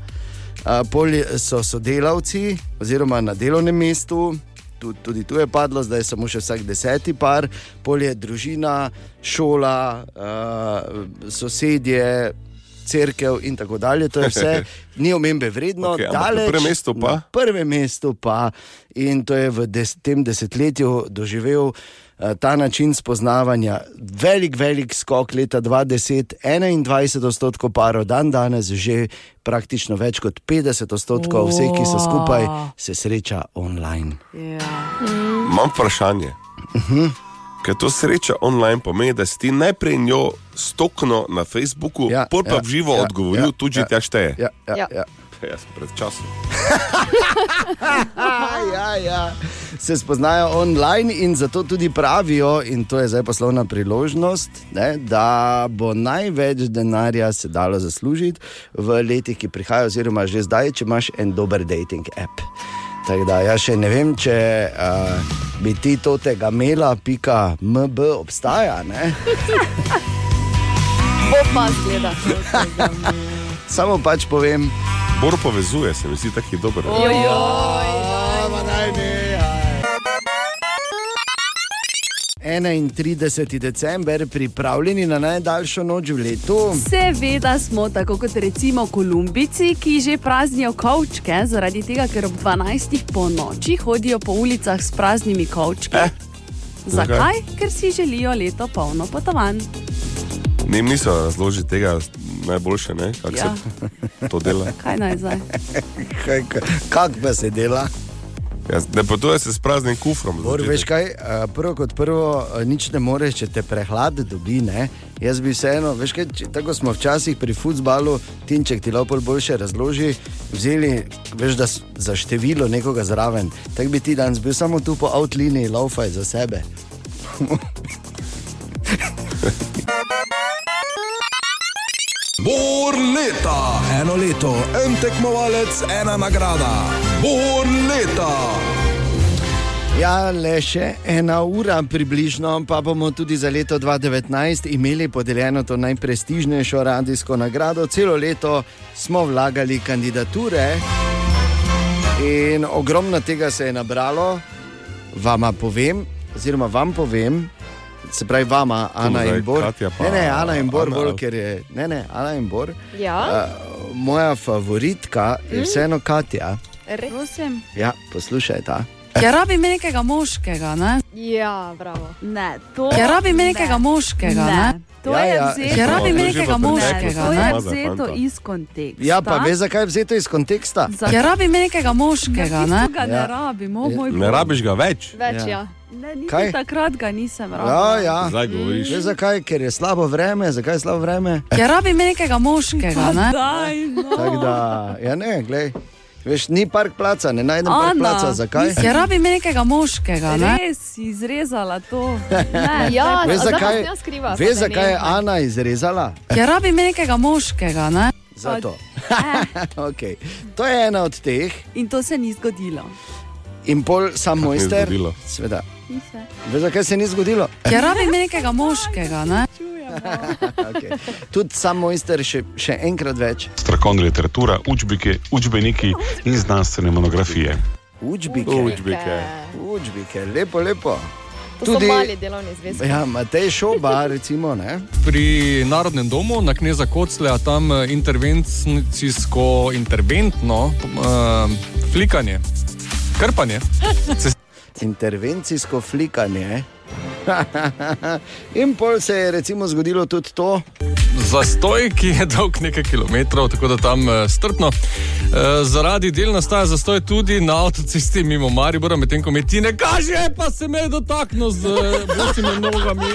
S3: A, Pol so sodelavci, oziroma na delovnem mestu, tudi, tudi tu je padlo, zdaj je samo še vsak deseti par, pol je družina, šola, a, sosedje, crkev in tako dalje. To je vse, ni omembe vredno,
S6: Okej,
S3: okay,
S6: ampak na
S3: daleč.
S6: prvem mestu pa?
S3: Na prvem mestu pa, in to je v des, tem desetletju doživel eh, ta način spoznavanja. Velik, velik skok leta 2010, 21 odstotkov parov, dan danes že praktično več kot 50 odstotkov vseh, ki so skupaj, se sreča online.
S4: Ja.
S6: Imam vprašanje.
S3: Mhm.
S6: Ker to sreča online pomeni, da si ti najprej njo stokno na Facebooku,
S3: Ja,
S6: ja, pol pa ja,
S3: ja,
S6: v živo
S3: ja,
S6: ja, odgovoril,
S3: ja,
S6: ja, tudi ja,
S3: ja.
S6: tja šteje.
S3: Ja, ja, ja.
S5: Ja.
S3: ja.
S6: Jaz sem pred časom.
S3: A, ja, ja. Se spoznajo online in zato tudi pravijo, in to je zdaj poslovna priložnost, ne, da bo največ denarja se dalo zaslužiti v letih, ki prihajajo, oziroma že zdaj, če imaš en dober dating app. Tako da jaz še ne vem, če uh, bi ti to tega mela, pika mb obstaja. Ne?
S5: Bo pa zgleda.
S3: Samo pač povem,
S6: Bor povezuje, se mi zdi tako dobro.
S3: Pa naj nehaj. 31. december, pripravljeni na najdaljšo noč v letu.
S4: Seveda smo tako kot recimo Kolumbici, ki že praznijo kovčke, zaradi tega, ker ob 12. po noči hodijo po ulicah s praznimi kovčki.
S6: Eh,
S4: Zakaj? Ker si želijo leto polno potovanj.
S6: Ne, jim niso razložili tega najboljše, ne, kako
S4: Ja.
S6: se to dela.
S4: Kaj naj zdaj?
S3: Kaj- kaj- Kak pa se dela?
S6: Ja, ne potuje se s praznim kufrom. za
S3: Bor,
S6: začetek.
S3: veš kaj, eh, prvo kot prvo, eh, nič ne moreš, če te prehlad dobi. Ne? Jaz bi vseeno, veš kaj, če, tako kot smo včasih pri futbalu, Tinček ti lahko boljše razloži, vzeli veš, da, s- za število nekoga zraven. Tako bi ti danes bil samo tu po outliniji, laufaj za sebe.
S8: Bor leta, eno leto, en tekmovalec, ena nagrada. Bor leta.
S3: Ja, le še ena ura približno, pa bomo tudi za leto 2019 imeli podeljeno to najprestižnejšo radijsko nagrado. Celo leto smo vlagali kandidature in ogromno tega se je nabralo. Vama povem, oziroma vam povem, se pravi, vama, Ana
S6: zdaj
S3: in Bor.
S6: Katja pa-
S3: Ne, ne, Ana in Bor,
S6: Ana. ja.
S3: bolj, ker je. Ne, ne, Ana in Bor.
S5: Ja,
S3: Uh, moja favoritka je vseeno Katja.
S5: res.
S4: Prosim.
S3: Ja, poslušaj ta.
S9: Ja, rabi me nekega moškega, ne?
S5: Ja, bravo.
S4: Ne, to
S9: Ja, rabi me nekega moškega, ne?
S4: Ne, to
S3: Ja,
S4: je
S3: ja,
S4: vzeto.
S9: Ja, rabi
S6: to
S9: me
S6: je že
S9: nekega
S6: v preteklosti.
S9: moškega,
S4: To
S9: ne?
S4: je
S6: Maza,
S4: vzeto
S6: fanta.
S4: iz konteksta.
S3: Ja, pa veš, zakaj je vzeto iz konteksta?
S4: Zakaj
S9: Ja, rabi me nekega moškega, ne?
S4: ga
S3: Ja.
S4: ne rabim, o
S3: Ja.
S4: moj bog.
S6: Ne rabiš ga več,
S5: Več,
S3: Ja.
S5: ja.
S4: Ne, niti
S3: Kaj?
S4: takrat ga nisem
S3: Ja,
S4: rabil.
S3: ja.
S6: zdaj govoriš.
S3: Veš zakaj? Ker je slabo vreme, zakaj je slabo vreme?
S9: Ja, rabi me nekega moškega, ne?
S4: Daj,
S3: Tako
S4: no.
S3: da, ja ne, glej. Veš, ni park placa, ne najdem
S4: Ana,
S3: park placa, zakaj?
S9: Ja, rabi me nekega moškega, ne?
S4: Res si izrezala to. Ne,
S5: Ja,
S3: Veš
S5: zdaj pa
S3: zakaj,
S5: se ne skriva,
S3: veš,
S5: pa ne
S3: zakaj je
S5: vem.
S3: Ana izrezala?
S9: Ja, rabi me nekega moškega, ne?
S3: Zato. okay. To je ena od teh
S4: In to se ni zgodilo.
S3: in pol sam
S6: Kako ni
S3: mojster.
S6: zgodilo?
S3: Sveda. Veš, zakaj se ni zgodilo?
S9: Ja, rabi me nekega moškega, ne?
S3: Okay. Tudi sam mojster še, še enkrat več.
S10: strokovna literatura, učbike, učbeniki in znanstvene monografije.
S3: Učbike,
S6: Učbike.
S3: učbike, lepo, lepo.
S5: To so
S3: Tudi-
S5: mali delovni zvezki.
S3: Ja, Matej Šoba, recimo, ne?
S10: Pri Narodnem domu na kneza Kocleja tam eh, intervencijsko, interventno uh, flikanje, krpanje.
S3: intervencijsko flikanje. eh? In pol se je recimo zgodilo tudi to,
S10: Zastoj, ki je dolg nekaj kilometrov, tako da tam eh, strpno. Eh, Zaradi del nastaja zastoj tudi na avtocesti mimo Maribora, medtem ko mi ti ne kaže, pa se me je dotaknil z eh, bosimi nogami.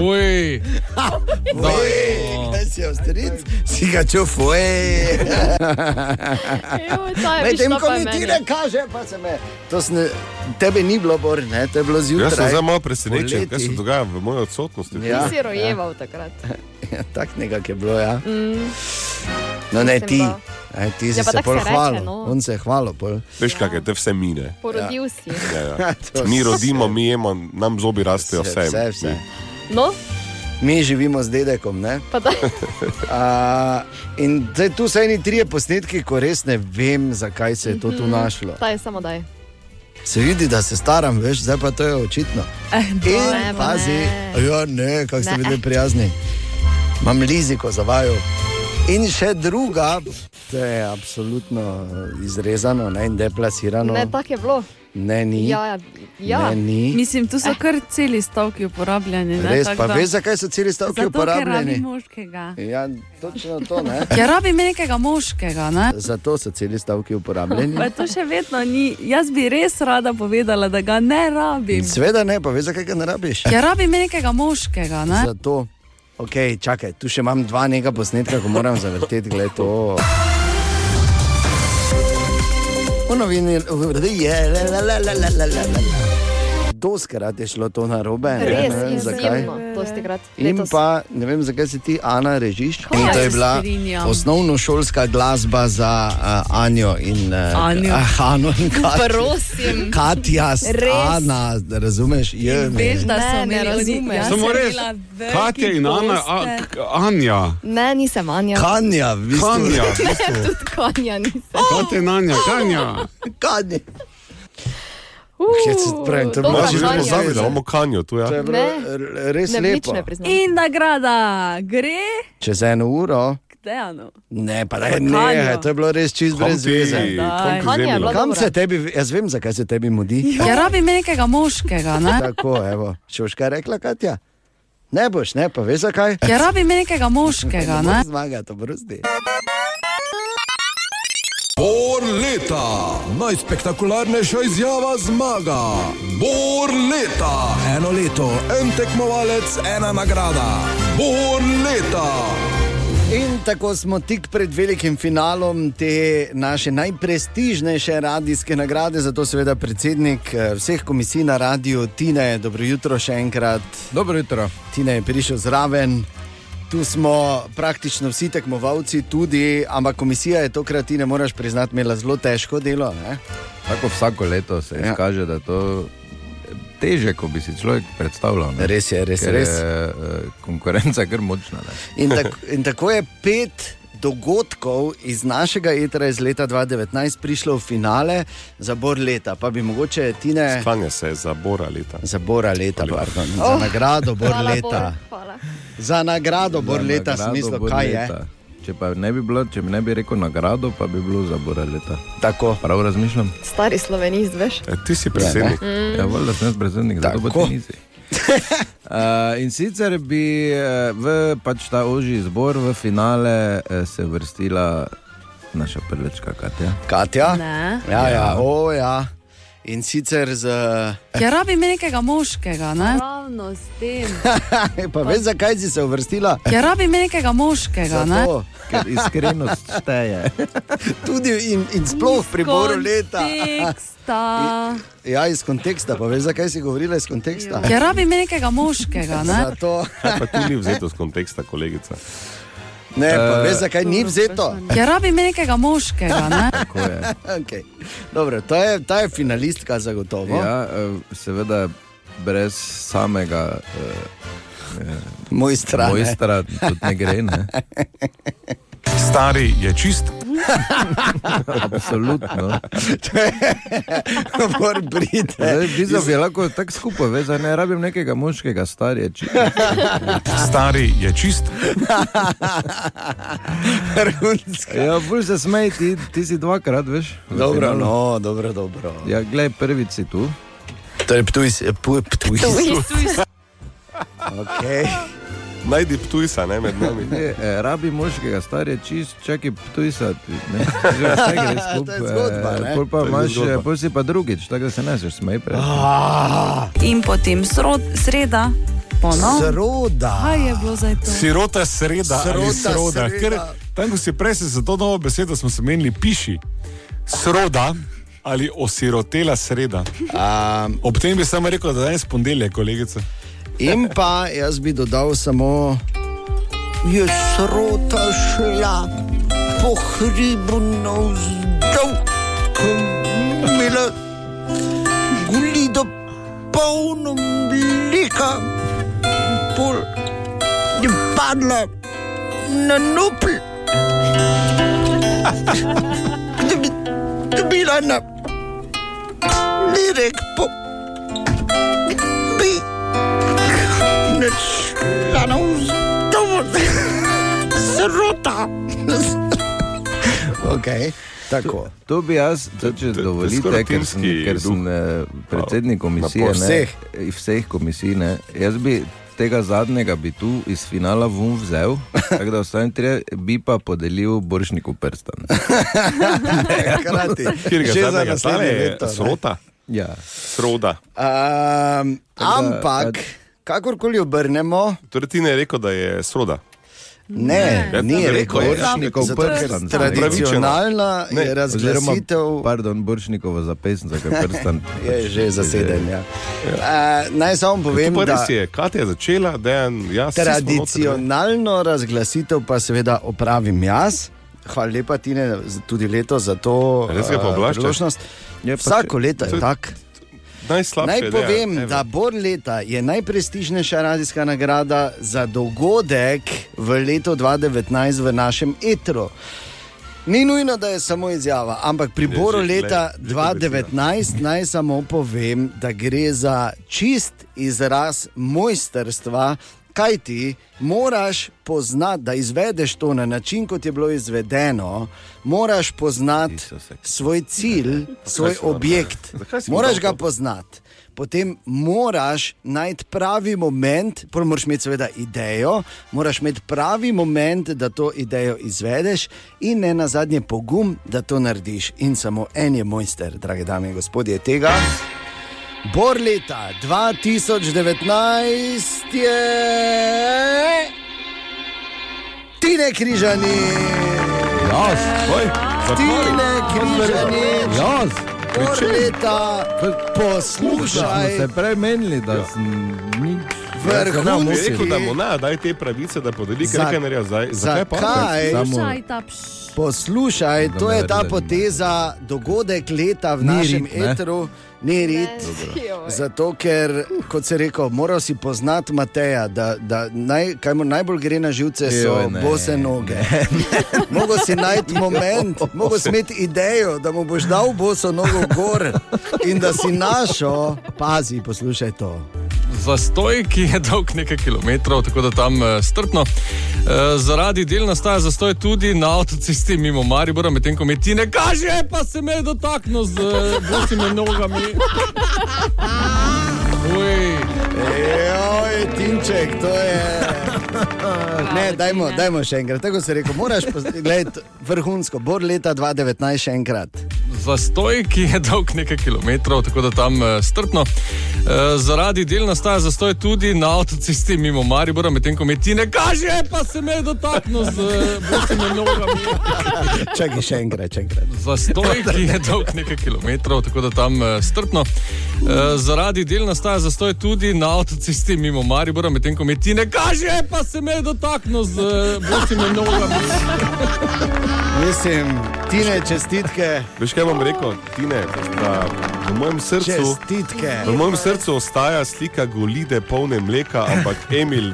S10: Uj, da, no.
S3: da si avstrijc, si ga čufuj. Ja.
S5: Evo, ta je
S3: Medtem
S5: prišla
S3: ko
S5: pa
S3: mi
S5: meni.
S3: ti ne kaže, pa se me. To sne, tebe ni bilo bor, ne, to je bilo
S6: Jaz sem
S3: zjutraj.
S6: zdaj malo presenečen, kaj se
S3: Poleti.
S6: dogaja v moji odsotnosti.
S3: Ja.
S5: Ti si rojeval takrat.
S3: Ja, tak nekak je bilo, ja. No
S5: Mm.
S3: ne
S5: Mislim,
S3: ti,
S5: da.
S3: ne, ti si
S5: Ja, pa
S3: se
S5: tako
S3: pol
S5: se reče,
S3: hvalil,
S5: no.
S3: on se je hvalil pol.
S6: Veš, kaj je, te vse mine.
S5: Porodil si.
S6: Ja, ja.
S3: To
S6: Mi
S3: se-
S6: rodimo, mi jemo, nam zobi rastejo,
S3: vse,
S6: vse.
S3: vse, vse.
S5: No,
S3: Mi živimo z dedekom, ne?
S5: pa da.
S3: A, in zdaj tu so eni trije posnetki, ko res ne vem, zakaj se je to
S5: Mhm.
S3: tu našlo.
S5: Ta je samo daj.
S3: Ja, Se vidi, da se staram, veš, zdaj pa to je očitno.
S4: Eh,
S3: In
S5: ne, pa
S3: pazi,
S5: ne.
S3: ja, ne, kako ste
S5: Ne.
S3: bili prijazni. Imam liziko za vaju. In še druga, to je absolutno eh, izrezano ne, in deplasirano.
S5: Ne, tako je bilo.
S3: ne ni.
S5: Ja, ja. ja.
S3: no. Ne, ni.
S4: Mislim, tu so kar celi stavki uporabljeni. Ne,
S3: Res,
S4: tako
S3: pa
S4: da-
S3: veš, zakaj so celi stavki
S4: Zato, ker rabi
S3: uporabljeni? Eh.
S4: moškega.
S3: Ja, točno to, ne.
S9: Ja, rabi me nekega moškega, ne?
S3: Zato so celi stavki uporabljeni.
S4: Pa to še vedno ni. Jaz bi res rada povedala, da ga ne rabim.
S3: Sveda ne, pa veš, zakaj ga ne rabiš.
S9: Ja, rabi me nekega moškega, ne?
S3: Zato, okay, čakaj, tu še imam dva neka posnetka, ko moram zavrteti, gled to. O novini, je, la, la, la, la, la, la, la, la. doskrat je šlo to na robe.
S5: Res no, izjemno, dosti krat.
S3: In
S5: letos.
S3: pa ne vem, zakaj si ti, Ana, režiš.
S5: Kaj
S3: In to je
S5: se
S3: bila
S5: strinjam.
S3: osnovno šolska glasba za uh, Anjo in uh,
S5: Anjo.
S3: ah, Ano in Katjo.
S5: Prosim.
S3: Katja, s-
S5: Res.
S3: Ana, razumeš? Je,
S5: Veš, da
S4: Ne,
S5: so
S4: ne
S5: imeli oni-
S4: razumeš.
S5: jaz
S6: Samo
S5: sem
S6: res,
S5: imela veliki
S6: Katja in Ana, a,
S5: poster.
S6: k- Anja.
S5: Ne, nisem Anja.
S3: Kanja, v bistvu.
S6: Kanja, v
S5: Ne,
S6: bistvu.
S5: tudi Kanja nisem.
S6: Katja in Anja,
S5: Oh.
S6: Kanja.
S3: Kanja. pravim, to je
S5: dobra
S3: bila že
S5: Kanja.
S6: Pozdravi, da imamo Kanjo tu. Ja.
S3: To je bilo
S5: Ne.
S3: r- res
S5: Ne, nič
S3: lepo.
S5: ne priznam.
S4: In nagrada gre
S3: Čez eno uro.
S4: k Dejanu.
S3: Ne, pa
S4: Za
S3: ne, ne,
S4: Kanjo.
S3: to je bilo res čist
S6: Kam
S3: brez
S6: ti-
S3: veze.
S6: kam ti
S4: Kanja je
S6: zemlja?
S4: bila
S3: Kam
S4: dobra.
S3: se tebi, jaz vem, zakaj se tebi mudi.
S9: Ja, rabim nekega moškega, ne?
S3: Tako, evo, še boš kaj rekla, Katja? Ne boš, ne, pa veš zakaj?
S9: Ja, rabim nekega moškega, ne?
S3: Zmaga, to brsti.
S8: Bor leta, najspektakularnejša izjava zmaga. Bor leta, eno leto, en tekmovalec, ena nagrada. Bor leta.
S3: In tako smo tik pred velikim finalom te naše najprestižnejše radijske nagrade, zato seveda predsednik eh, vseh komisij na radiju Tine, dobro jutro še enkrat.
S1: Dobro jutro.
S3: Tine je prišel zraven. Tu smo praktično vsi tekmovalci, tudi, ampak komisija je tokrat, ti ne moreš priznati, imela zelo težko delo. Ne?
S1: Tako vsako leto se
S3: Ja.
S1: ja. kaže, da je to teže, kot bi si človek predstavljal. Ne?
S3: Res je, res je.
S1: Ker
S3: Res.
S1: Je, eh, konkurenca je kar močna. Ne?
S3: In, tak, in tako je pet dogodkov iz našega etra iz leta 2019 prišlo v finale za bor leta, pa bi mogoče Tine.
S6: Kanja se je zabora leta.
S3: Za Bora leta, pardon, za
S5: Oh.
S3: nagrado Bor
S5: Hvala,
S3: leta.
S5: Bor, hvala.
S3: Za nagrado Bor
S1: Za
S3: leta,
S1: nagrado
S3: smisel,
S1: Bor
S3: kaj je.
S1: leta. Če pa ne bi bilo, če mi ne bi rekel nagrado, pa bi bilo za bora leta.
S3: Tako.
S1: Prav razmišljam.
S5: Stari slovenist, veš?
S6: E, Ti si predsednik.
S1: Ja, valjda sem jaz predsednik, zato bo
S3: Tako.
S1: to nisi. Uh, in sicer bi eh, v pač ta ožji izbor v finale eh, se vrstila naša prvečka Katja.
S3: Katja?
S4: Ne.
S3: Ja, ja, o, ja. In sicer z.
S9: Ja, rabim nekega moškega, ne?
S4: Ravno s tem.
S3: Pa veš, zakaj si se uvrstila?
S9: Ja, rabim nekega moškega, ne?
S3: Zato,
S1: Ker iskrenost šteje.
S3: tudi in, in sploh pri Boru leta.
S4: Teksta.
S3: Ja, iz konteksta, pa veš, zakaj si govorila iz konteksta?
S9: Ja, rabim nekega moškega, ne?
S3: Zato,
S6: Kaj pa ti ni vzeto z konteksta, kolegica?
S3: ne, pa
S1: Eh.
S3: veš, zakaj ni vzeto.
S9: Ja, rabim nekega moškega, ne?
S1: Tako je.
S3: Okay. Dobro, ta je, ta je finalistka zagotovo.
S1: Ja, eh, seveda brez samega
S3: Moj
S1: eh,
S3: strah.
S1: mojstra tudi ne gre. Ne?
S7: Stari je čist,
S1: Absolutno.
S3: Mor pride.
S1: Zdaj bi lahko tako skupaj, veš, da ne rabim nekega moškega, starejega.
S7: stari je čist.
S3: Runska.
S1: Ja, bolj se smej, ti, ti si dvakrat, veš. v
S3: Dobro,
S1: finalu.
S3: no, dobro, dobro.
S1: Ja, glej, prvič si tu.
S3: To je ptuj, ptuj, ptuj. Okay.
S6: Najdi ptujsa, ne med nami.
S1: Ne, eh, rabi moškega, star je čist, čakaj, tu si sad. Ne, Že vse gre
S3: To
S1: skupaj.
S3: je zgodba, ne?
S1: eh, Pol pa
S6: je
S1: imaš,
S6: zgodba.
S1: eh, pol si pa drugič, tako da se ne znaš smej. Prej.
S3: Ah.
S4: In potem srod, sreda,
S9: No.
S4: ponovno.
S3: Zroda.
S4: Kaj je bilo zdaj to?
S7: Sirota sreda, srota ali
S3: Srota
S7: sroda.
S3: sreda.
S7: Ker, tam, ko si prej se za to novo besedo smo se menili, piši sroda ali osirotela sreda.
S3: Um,
S7: Ob tem bi samo rekel, da je danes ponedeljek, kolegica.
S3: in pa jaz bi dodal samo, je srota šla po hribu navzdol, ko je imela gulido polno mleka, pol je padla na nupl. Da bi dobila na lirek po bi. Nič, da ne vzdol, srota. Ok, tako.
S1: To bi jaz, to, če
S6: to je
S1: dovolite,
S6: skoraj
S1: ker sem,
S6: timski
S1: ker sem
S6: duh.
S1: eh, predsednik komisije.
S3: Napor vseh.
S1: Ne, eh, vseh komisij. Ne, jaz bi tega zadnjega bi tu iz finala vun vzel, tako da ostanem tri, bi pa podelil Boršniku prstan.
S3: Hkrati,
S6: Kjer ga
S3: Že za
S6: zadnjega stane
S3: naslednje
S6: je
S3: leto. ne.
S6: srota,
S1: Ja.
S6: sroda.
S3: Um, ampak, kakorkoli obrnemo,
S6: Torej ti ne je rekel, da je sroda.
S3: Ne,
S1: Ja,
S3: ni
S1: rekel
S3: rekel,
S1: je,
S3: Boršnikov
S1: zato, ker
S3: prstan.
S1: sta
S3: Tradicionalna
S1: Ne,
S3: je
S1: oziroma,
S3: razglasitev.
S1: Pardon, Boršnikovo zapestnica, ker prstan.
S3: Je že zaseden, ja. Eh, naj samo povem,
S6: To pa
S3: da
S6: res je, Katja je začela, da jaz vsi smo noter, ne.
S3: Tradicionalno razglasitev pa seveda opravim jaz. Hvala lepa, Tine, z- tudi leto za to
S6: Res ga
S3: eh,
S6: pooblaščaš?
S3: priložnost. Vsako leto
S6: to
S3: je
S6: je
S3: tako.
S6: Najslabše
S3: Naj
S6: ideja,
S11: ja.
S3: povem,
S6: ever.
S3: da Bor leta je najprestižnejša radijska nagrada za dogodek v letu 2019 v našem etru. Ni nujno, da je samo izjava, ampak pri
S11: Ne,
S3: Boru
S11: že- glej,
S3: leta
S11: že to
S3: 2019 naj samo povem, da gre za čist izraz mojstrstva. Kaj ti moraš poznati, da izvedeš to na način, kot je bilo izvedeno, moraš poznati svoj cilj, svoj
S11: si naredil?
S3: objekt,
S11: Zakaj si mu
S3: moraš
S11: dal
S3: ga
S11: to?
S3: poznati. Potem moraš najti pravi moment, prvo moraš imeti seveda idejo, moraš imeti pravi moment, da to idejo izvedeš, in ne na zadnje pogum, da to narediš. In samo en je mojster, drage dame in gospodje, tega. Bor leta 2019 je Tine Križani.
S1: Jaz, oj,
S3: Tine Križani.
S1: Jaz.
S3: Bor leta
S1: Smo
S3: poslušaj.
S1: se Ja, prej menili,
S3: Ja.
S1: da sem ni.
S6: Vrhunski. Je Ja, rekel, da mu ne, daj te pravice, da podeli, ker
S3: Za-
S6: nekaj naredijo zdaj. Zakaj pa?
S3: zakaj?
S4: Poslušaj ta pš.
S3: Poslušaj, to je ta
S6: Dober,
S3: poteza, dogodek leta v
S1: Ni
S3: našem
S1: rit, ne?
S3: etru, ni rit. Zato, ker, kot se reko, moral si poznati Mateja, da, da naj, kaj mu najbolj gre na živce, so
S1: Joj, ne,
S3: bose noge. Mogoče si najti moment, mogoče si imeti idejo, da mu boš dal boso nogo gor in da si našel, pazi, poslušaj to.
S10: Zastoj, ki je dolg nekaj kilometrov, tako da tam eh, strpno. Eh, Zaradi del nastaja zastoj tudi na avtocesti mimo Maribora, medtem ko mi ti ne kaže, pa se me je dotaknil z eh, bosimi nogami. Uj.
S3: Joj, Timček, to je. Ne, dajmo, dajmo še enkrat. Tako se reko, moraš gledati vrhunsko, bor leta 2019 še enkrat.
S10: Zastoj, ki je dolg nekaj kilometrov, tako da tam eh, strpno. Eh, Zaradi del nastaja zastoj tudi na avtocesti mimo Maribora, medtem ko mi ti ne kaže, pa se me je dotaknil z eh, bosimi nogami.
S3: Čakaj, še enkrat, še enkrat.
S10: Zastoj, ki je dolg nekaj kilometrov, tako da tam eh, strpno. Eh, Zaradi del nastaja zastoj tudi na avtocesti mimo Maribora, medtem ko mi ti ne kaže, pa se me je dotaknil z eh, bosimi nogami.
S3: Mislim, tine čestitke.
S6: Veš kaj bom rekel, Tine, da v mojem srcu,
S3: Čestitke.
S6: v mojem srcu ostaja slika golide polne mleka, ampak Emil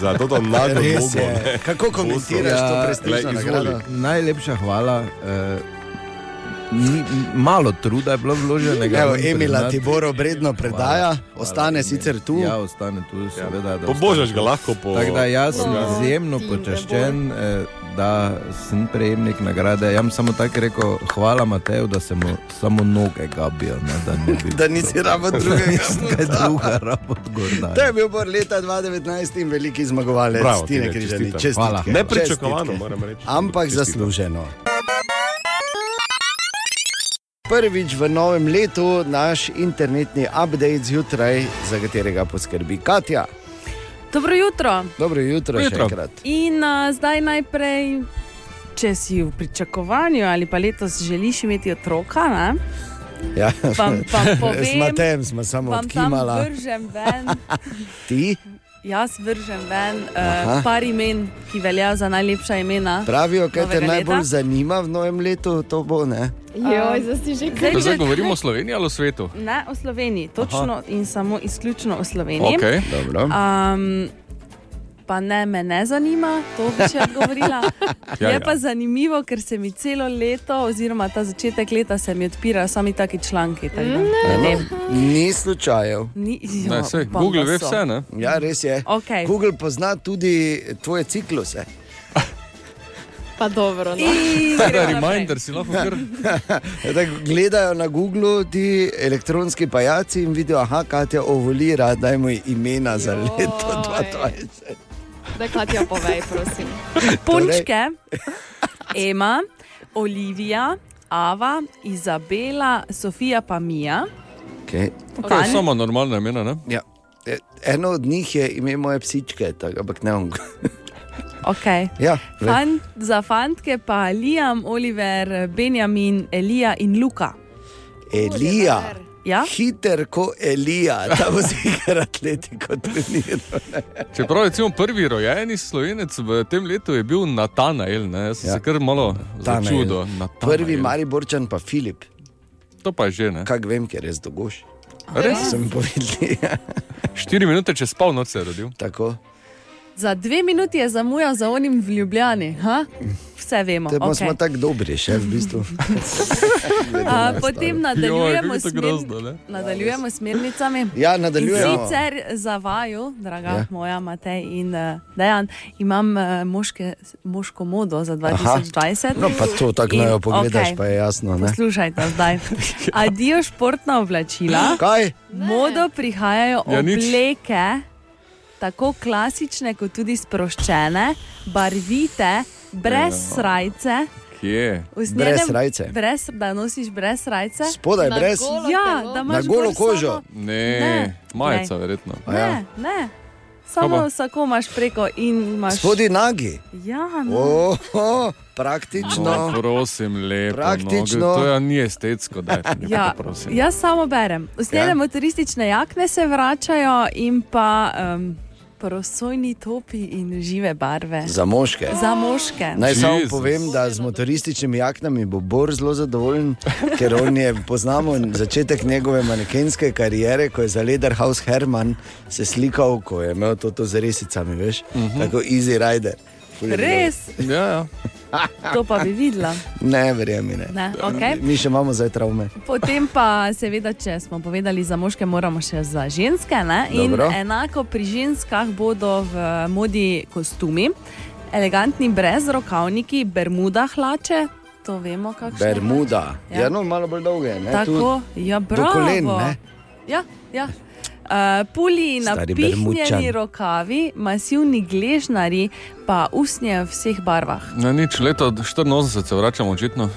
S6: za to tam nago
S3: Res
S6: nogo.
S3: je.
S6: ne.
S3: Kako komentiraš to
S6: Boso.
S3: prestižno
S6: Glej, izvoli.
S3: nagrado?
S1: Najlepša hvala. eh, ni- Malo truda je bilo vloženega.
S3: Evo,
S1: moram
S3: Emila
S1: priznati.
S3: ti Boro vredno predaja, ostane sicer tu.
S1: Ja, ostane tu, seveda. da
S6: Pobožaš
S1: ostane.
S6: ga lahko po-
S1: Tako da jaz sem
S6: Ja.
S1: izjemno počaščen, eh, da sem prejemnik nagrade. Jaz sem samo tako rekel, hvala Mateju, da sem mu samo noge gabil. Ne, da, ne bi
S3: Da nisi rabil drugega.
S1: Nisem kaj druga rabo
S3: To
S1: odgorda.
S3: je bil bor leta 2019 in veliki zmagovalec
S1: Bravo,
S3: Tine
S1: Tine,
S3: Križani.
S1: čestitam. Hvala.
S3: Čestitke.
S6: Nepričakovano,
S3: Čestitke.
S6: moram reči.
S3: Ampak
S6: Čestitam.
S3: zasluženo. Prvič v novem letu naš internetni update zjutraj, za katerega poskrbi Katja.
S4: Dobro jutro.
S3: Dobro jutro,
S4: Dobro
S3: jutro. še
S4: jutro.
S3: enkrat.
S4: In a, zdaj najprej, če si v pričakovanju ali pa letos želiš imeti otroka, ne,
S3: Ja.
S4: Vam- vam povem,
S3: S Matejem smo samo
S4: vam tam
S3: odkimala.
S4: vržem ven.
S3: Ti
S4: Jaz vržem ven
S3: Aha.
S4: uh, par imen, ki veljajo za najlepša imena.
S3: pravijo, kaj te
S4: novega
S3: najbolj
S4: leta.
S3: zanima v novem letu, to bo ne.
S4: Joj, zdaj si že kaj.
S10: Zdaj govorimo o Sloveniji ali o svetu?
S4: Ne o Sloveniji, točno Aha. in samo izključno o Sloveniji.
S10: Okej.
S3: Dobro.
S4: Um, pa ne, me ne zanima, to bi še odgovorila.
S10: Ja,
S4: ja,
S10: ja.
S4: je pa zanimivo, ker se mi celo leto, oziroma ta začetek leta, se mi odpirajo sami taki članki. tako da Ne vem.
S3: Ni slučajev.
S4: Ni, jo,
S10: Ne, saj,
S4: upam,
S10: Google
S4: da
S10: ve
S4: No, so.
S10: vse, ne?
S3: Ja, res je.
S4: Okej.
S3: Google pozna tudi tvoje cikluse.
S5: Pa dobro. No.
S4: Ja,
S10: Torej, Reminder si lahko kar.
S3: Da Ja, gledajo na Google ti elektronski pajaci in vidijo, aha, Katja ovolira, dajmo ji imena za leto 2020.
S5: Da, Katja, povej, prosim.
S10: torej.
S4: Punčke, Ema, Olivija, Ava, Izabela, Sofija pa Mija.
S3: Okay.
S10: To je samo normalna imena, ne?
S3: Ja. E, Eno od njih je ime moje psičke, tako, ampak ne on.
S4: Okay.
S3: Ja, le-
S4: Fant, za fantke pa Liam, Oliver, Benjamin, Elija in Luka.
S3: Elija.
S4: Ja?
S3: Hiter kot Elija, da bo si igral atletiko treniral.
S10: Čeprav recimo prvi rojeni slovenec v tem letu je bil Natanael, ne, jaz sem ja. se kar malo
S3: Natanael.
S10: začudo.
S3: Prvi Mariborčan pa Filip.
S10: To pa je že ne.
S3: Kaj vem, ker res dogoš.
S10: Res?
S3: Sem povedal. ja.
S10: Štiri minute čez polnoč se je rodil.
S3: Tako.
S4: Za dve minuti je zamujal za onim v Ljubljani. Ha? Vse vemo.
S3: Te pa smo
S4: Okay.
S3: tako dobri, še v bistvu.
S4: A, potem nadaljujemo,
S3: kako
S4: s
S3: je to
S4: smer...
S3: grozno, ne?
S4: nadaljujemo s smernicami.
S3: Ja, nadaljujemo.
S4: In sicer za vaju, draga
S3: Ja.
S4: ja. moja Matej in uh, Dejan, imam uh, moške, moško modo za
S3: Aha.
S4: 2020.
S3: No, pa to tako
S4: In-
S3: naj jo pogledaš,
S4: okej.
S3: pa je jasno. Ne?
S4: Poslušajte zdaj. Adijo športna oblačila.
S3: Kaj?
S4: Modo prihajajo
S3: Ja, nič.
S4: obleke, tako klasične, kot tudi sproščene, barvite, brez
S10: Ja.
S4: srajce.
S10: Kje?
S4: Vz njene- Brez, da nosiš brez srajce.
S10: Spodaj Na brez? golo
S4: Ja, da imaš
S10: Na golo
S4: gor samo-
S10: kožo? ja. Ne,
S4: Ne.
S10: majica
S4: Ne.
S10: verjetno.
S4: Ne, ne.
S10: Kaj pa?
S4: Samo tako imaš preko in imaš.
S3: Spodi nagi.
S4: Ja, no.
S3: Oho, praktično.
S10: No, prosim, lepo.
S3: Praktično.
S10: No, to ja ni estetsko, da je
S4: Ja,
S10: prosim.
S4: jaz samo berem. Usnjene
S10: Ja.
S4: motoristične jakne se vračajo in pa um, prosojni topi in žive barve.
S3: Za moške.
S4: Za moške.
S3: Naj samo povem, da z motorističnimi jaknami bo Bor zelo zadovoljen, ker on je, poznamo začetek njegove manekenske kariere, ko je za Lederhaus Herman se slikal, ko je imel to, to z resicami, veš, uh -huh. tako Easy Rider. Ful je bilo.
S4: Res?
S10: Ja, ja.
S4: To pa bi videla.
S3: Ne, verjemi ne.
S4: Ne, okej.
S3: Mi še imamo zdaj travme.
S4: Potem pa, seveda, če smo povedali za moške, moramo še za ženske. Ne? In
S3: Dobro.
S4: enako pri ženskah bodo v modi kostumi, elegantni brez rokavniki, bermuda hlače, to vemo, kakšne.
S3: Bermuda.
S4: Ja.
S3: Ja, ja no, malo bolj dolge. Ne?
S4: Tako,
S3: Tu
S4: ja,
S3: do
S4: bravo.
S3: kolen, ne?
S4: ja, ja. Uh, puli
S3: Stari
S4: napihnjeni
S3: Bermudčan.
S4: rokavi, masivni gležnari, pa usnje v vseh barvah.
S10: Na nič, leto 84 se vračamo očitno.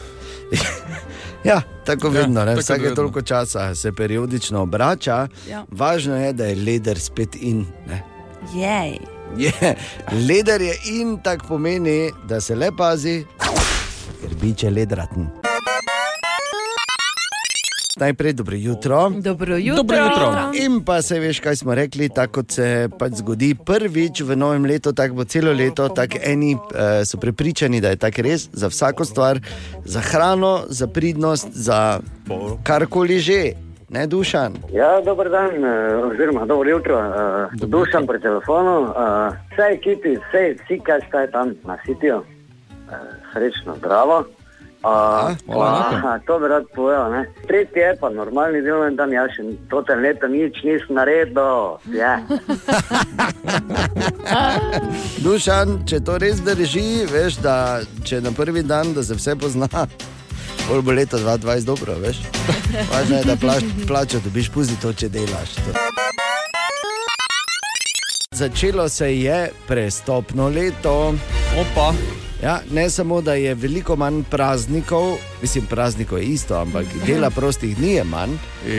S3: Ja, tako vedno, ne?
S10: tako
S3: vsake
S10: vedno.
S3: toliko časa se periodično obrača.
S4: Ja.
S3: Važno je, da je leder spet in. Ne?
S4: Jej.
S3: Je, leder je in tako pomeni, da se le pazi, ker bi če ledraten. Najprej dobro jutro.
S4: Dobro jutro. Dobro jutro.
S3: In pa se veš, kaj smo rekli, tako kot se pač zgodi prvič v novem letu, tako bo celo leto. Tako eni eh, so prepričani, da je tako res za vsako stvar, za hrano, za pridnost, za karkoli že, ne dušan.
S12: Ja, dober dan, eh, oziroma dobro jutro. eh, Dušam pri telefonu, eh, vse ekipi, vse vsi, kaj ste tam na sitiju, eh, srečno, zdravo. A, aha, to bi rad povedal. ne. Tretji je pa normalni delovni dan, jaz še to te leto nič nisem naredil. Ja.
S3: Dušan, če to res drži, veš, da če na prvi dan, da se vse pozna, bolj bo leto 2020 dobro, veš. Važno je, da plač, plačo dobiš, pusti to, če delaš. To. Začelo se je prestopno leto.
S10: Opa.
S3: Ja, ne samo, da je veliko manj praznikov, mislim, praznikov je isto, ampak dela prostih dni je manj.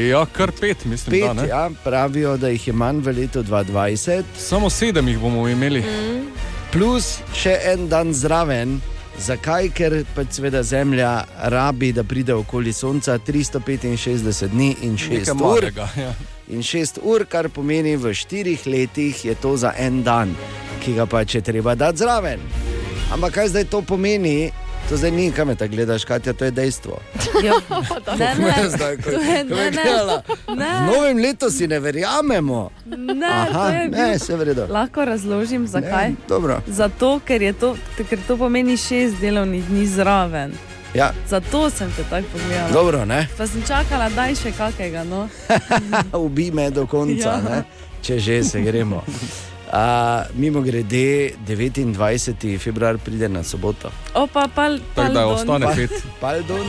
S10: Ja, kar pet, mislim. da,
S3: Pet,
S10: ne?
S3: ja, pravijo, da jih je manj v letu 2020.
S10: Samo sedem jih bomo imeli.
S3: Mm. Plus še en dan zraven. Zakaj? Ker pač seveda Zemlja rabi, da pride okoli Sonca 365 dni in 6
S10: Nekaj
S3: ur.
S10: malega, ja.
S3: In 6 ur, kar pomeni v 4 letih, je to za en dan, ki ga pač je treba dati zraven. Ampak kaj zdaj to pomeni? To zdaj ni, kam te gledaš, Katja, to je dejstvo.
S4: Ja. Ne, ne,
S3: Zdaj, ko-
S4: to je-
S3: ko
S4: ne, ne.
S3: me gledala. V
S4: Ne.
S3: novem letu si ne verjamemo.
S4: Ne,
S3: Aha,
S4: to je bil-
S3: ne, se vredo.
S4: Lahko razložim, zakaj.
S3: Ne, dobro.
S4: Zato, ker, je to, ker to pomeni šest delovnih dni zraven.
S3: Ja,
S4: Zato sem te tako pogledala.
S3: dobro, ne?
S4: Pa sem čakala, da je še kakega. No.
S3: Ubi me do konca,
S4: Ja.
S3: ja. če že se gremo. Uh, mimo grede, 29. februar pride na soboto.
S4: Opa, pal, pardon.
S3: Pardon.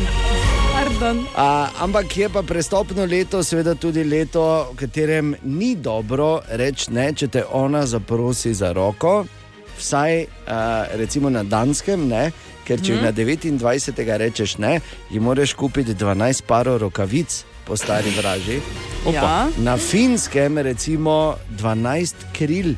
S4: Pardon.
S3: Uh, ampak je pa prestopno leto, seveda tudi leto, v katerem ni dobro reči ne, če te ona zaprosi za roko, vsaj uh, recimo na Danskem, ne? ker če
S13: Mhm.
S3: mm. na 29. rečeš ne, ji moraš kupiti 12 parov rokavic po stari vraži.
S4: Opa. Ja.
S3: Na finskem recimo 12 kril.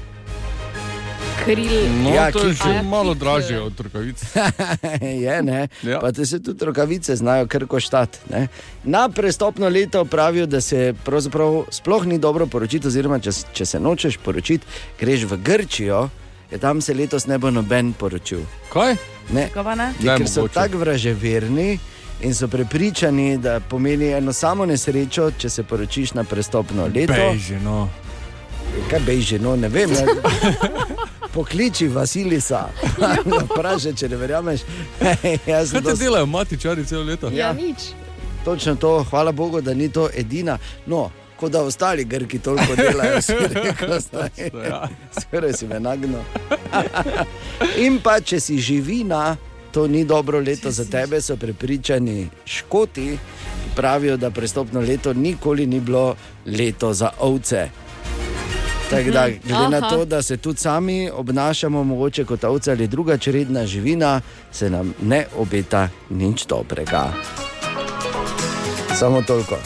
S5: kril.
S10: No,
S3: Ja,
S10: to je
S3: kikl.
S10: že malo dražje od rokavic.
S3: je, ne? Pa te se tudi rokavice znajo kar koštati. ne. Na prestopno leto pravijo, da se pravzaprav sploh ni dobro poročiti, oziroma če, s- če se nočeš poročiti, greš v Grčijo, ker tam se letos ne bo noben poročil.
S10: Kaj?
S3: Ne.
S4: Kaj pa ne?
S3: Ja, ker so tako vraževerni in so prepričani, da pomeni eno samo nesrečo, če se poročiš na prestopno leto.
S10: Beži, no.
S3: Kaj beži, no ne vem. Ne? Pokliči Vasilisa, vprašaj, če ne verjameš. Jaz
S10: Kaj
S3: sem
S10: te
S3: dosti-
S10: delajo, matičari celo leto?
S3: Točno to, hvala Bogu, da ni to edina. No, kot da ostali Grki toliko delajo, si rekel, zdaj. skoraj si me nagnil. In pa, če si živina, to ni dobro leto za tebe, so prepričani škoti, ki pravijo, da prestopno leto nikoli ni bilo leto za ovce. Tako da,
S11: Mhm,
S3: glede na
S11: aha.
S3: to, da se tudi sami obnašamo, mogoče kot ovce ali druga čredna živina, se nam ne obeta nič dobrega. Samo toliko.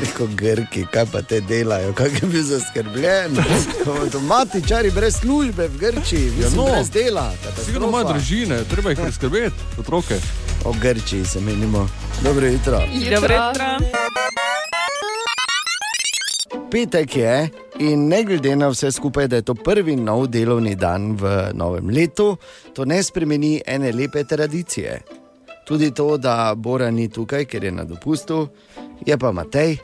S3: Reko Grki, kaj pa te delajo, kaj je bil zaskrbljen. Avtomatičari brez službe v Grčiji,
S10: Ja,
S3: ja, no.
S10: no.
S3: brez dela.
S10: Sigurno imajo družine, treba jih preskrbeti, otroke.
S3: O Grčiji se menimo. Dobro jutro.
S4: Dobro jutro.
S3: Petek je in ne glede na vse skupaj, da je to prvi nov delovni dan v novem letu, to ne spremeni ene lepe tradicije. Tudi to, da Bora ni tukaj, ker je na dopustu, je pa Matej.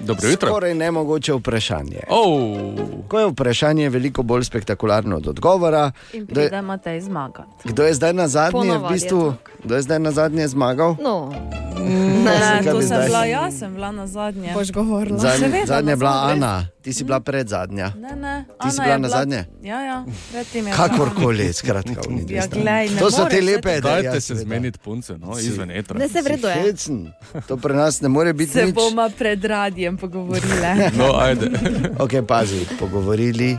S10: Dobro jutro.
S3: Skoraj nemogoče vprašanje.
S10: Oh.
S3: Ko je vprašanje veliko bolj spektakularno od odgovora,
S4: In
S3: kdo je,
S4: pride Matej zmaga.
S3: kdo je zdaj na zadnji, v
S4: Ponavadi je
S3: bistvu, kdo je zdaj na zadnji zmagal?
S4: No.
S3: Zakaj
S4: Ne,
S3: bi
S4: to sem
S3: zdaj?
S4: bila jaz, sem bila na zadnje. Boš
S5: govorila.
S3: Zadnja,
S4: no,
S3: zadnja je bila Ana, ti si bila predzadnja.
S4: Ne, ne.
S3: Ti
S4: Ana
S3: si bila
S4: je
S3: na zadnje?
S4: Ja, ja, predtem je bila
S3: Kakorkoli, skratka, v
S4: Ja, glej, ne
S3: To so te
S4: moreš,
S3: lepe ideje.
S10: Dajte se zmeniti punce, no, izven etra.
S4: Ne, saj v redu je.
S3: To pri nas ne more biti
S4: Se
S3: nič. No.
S4: bomo pred radijem pogovorili.
S10: ajde.
S3: ok, pazi, pogovorili.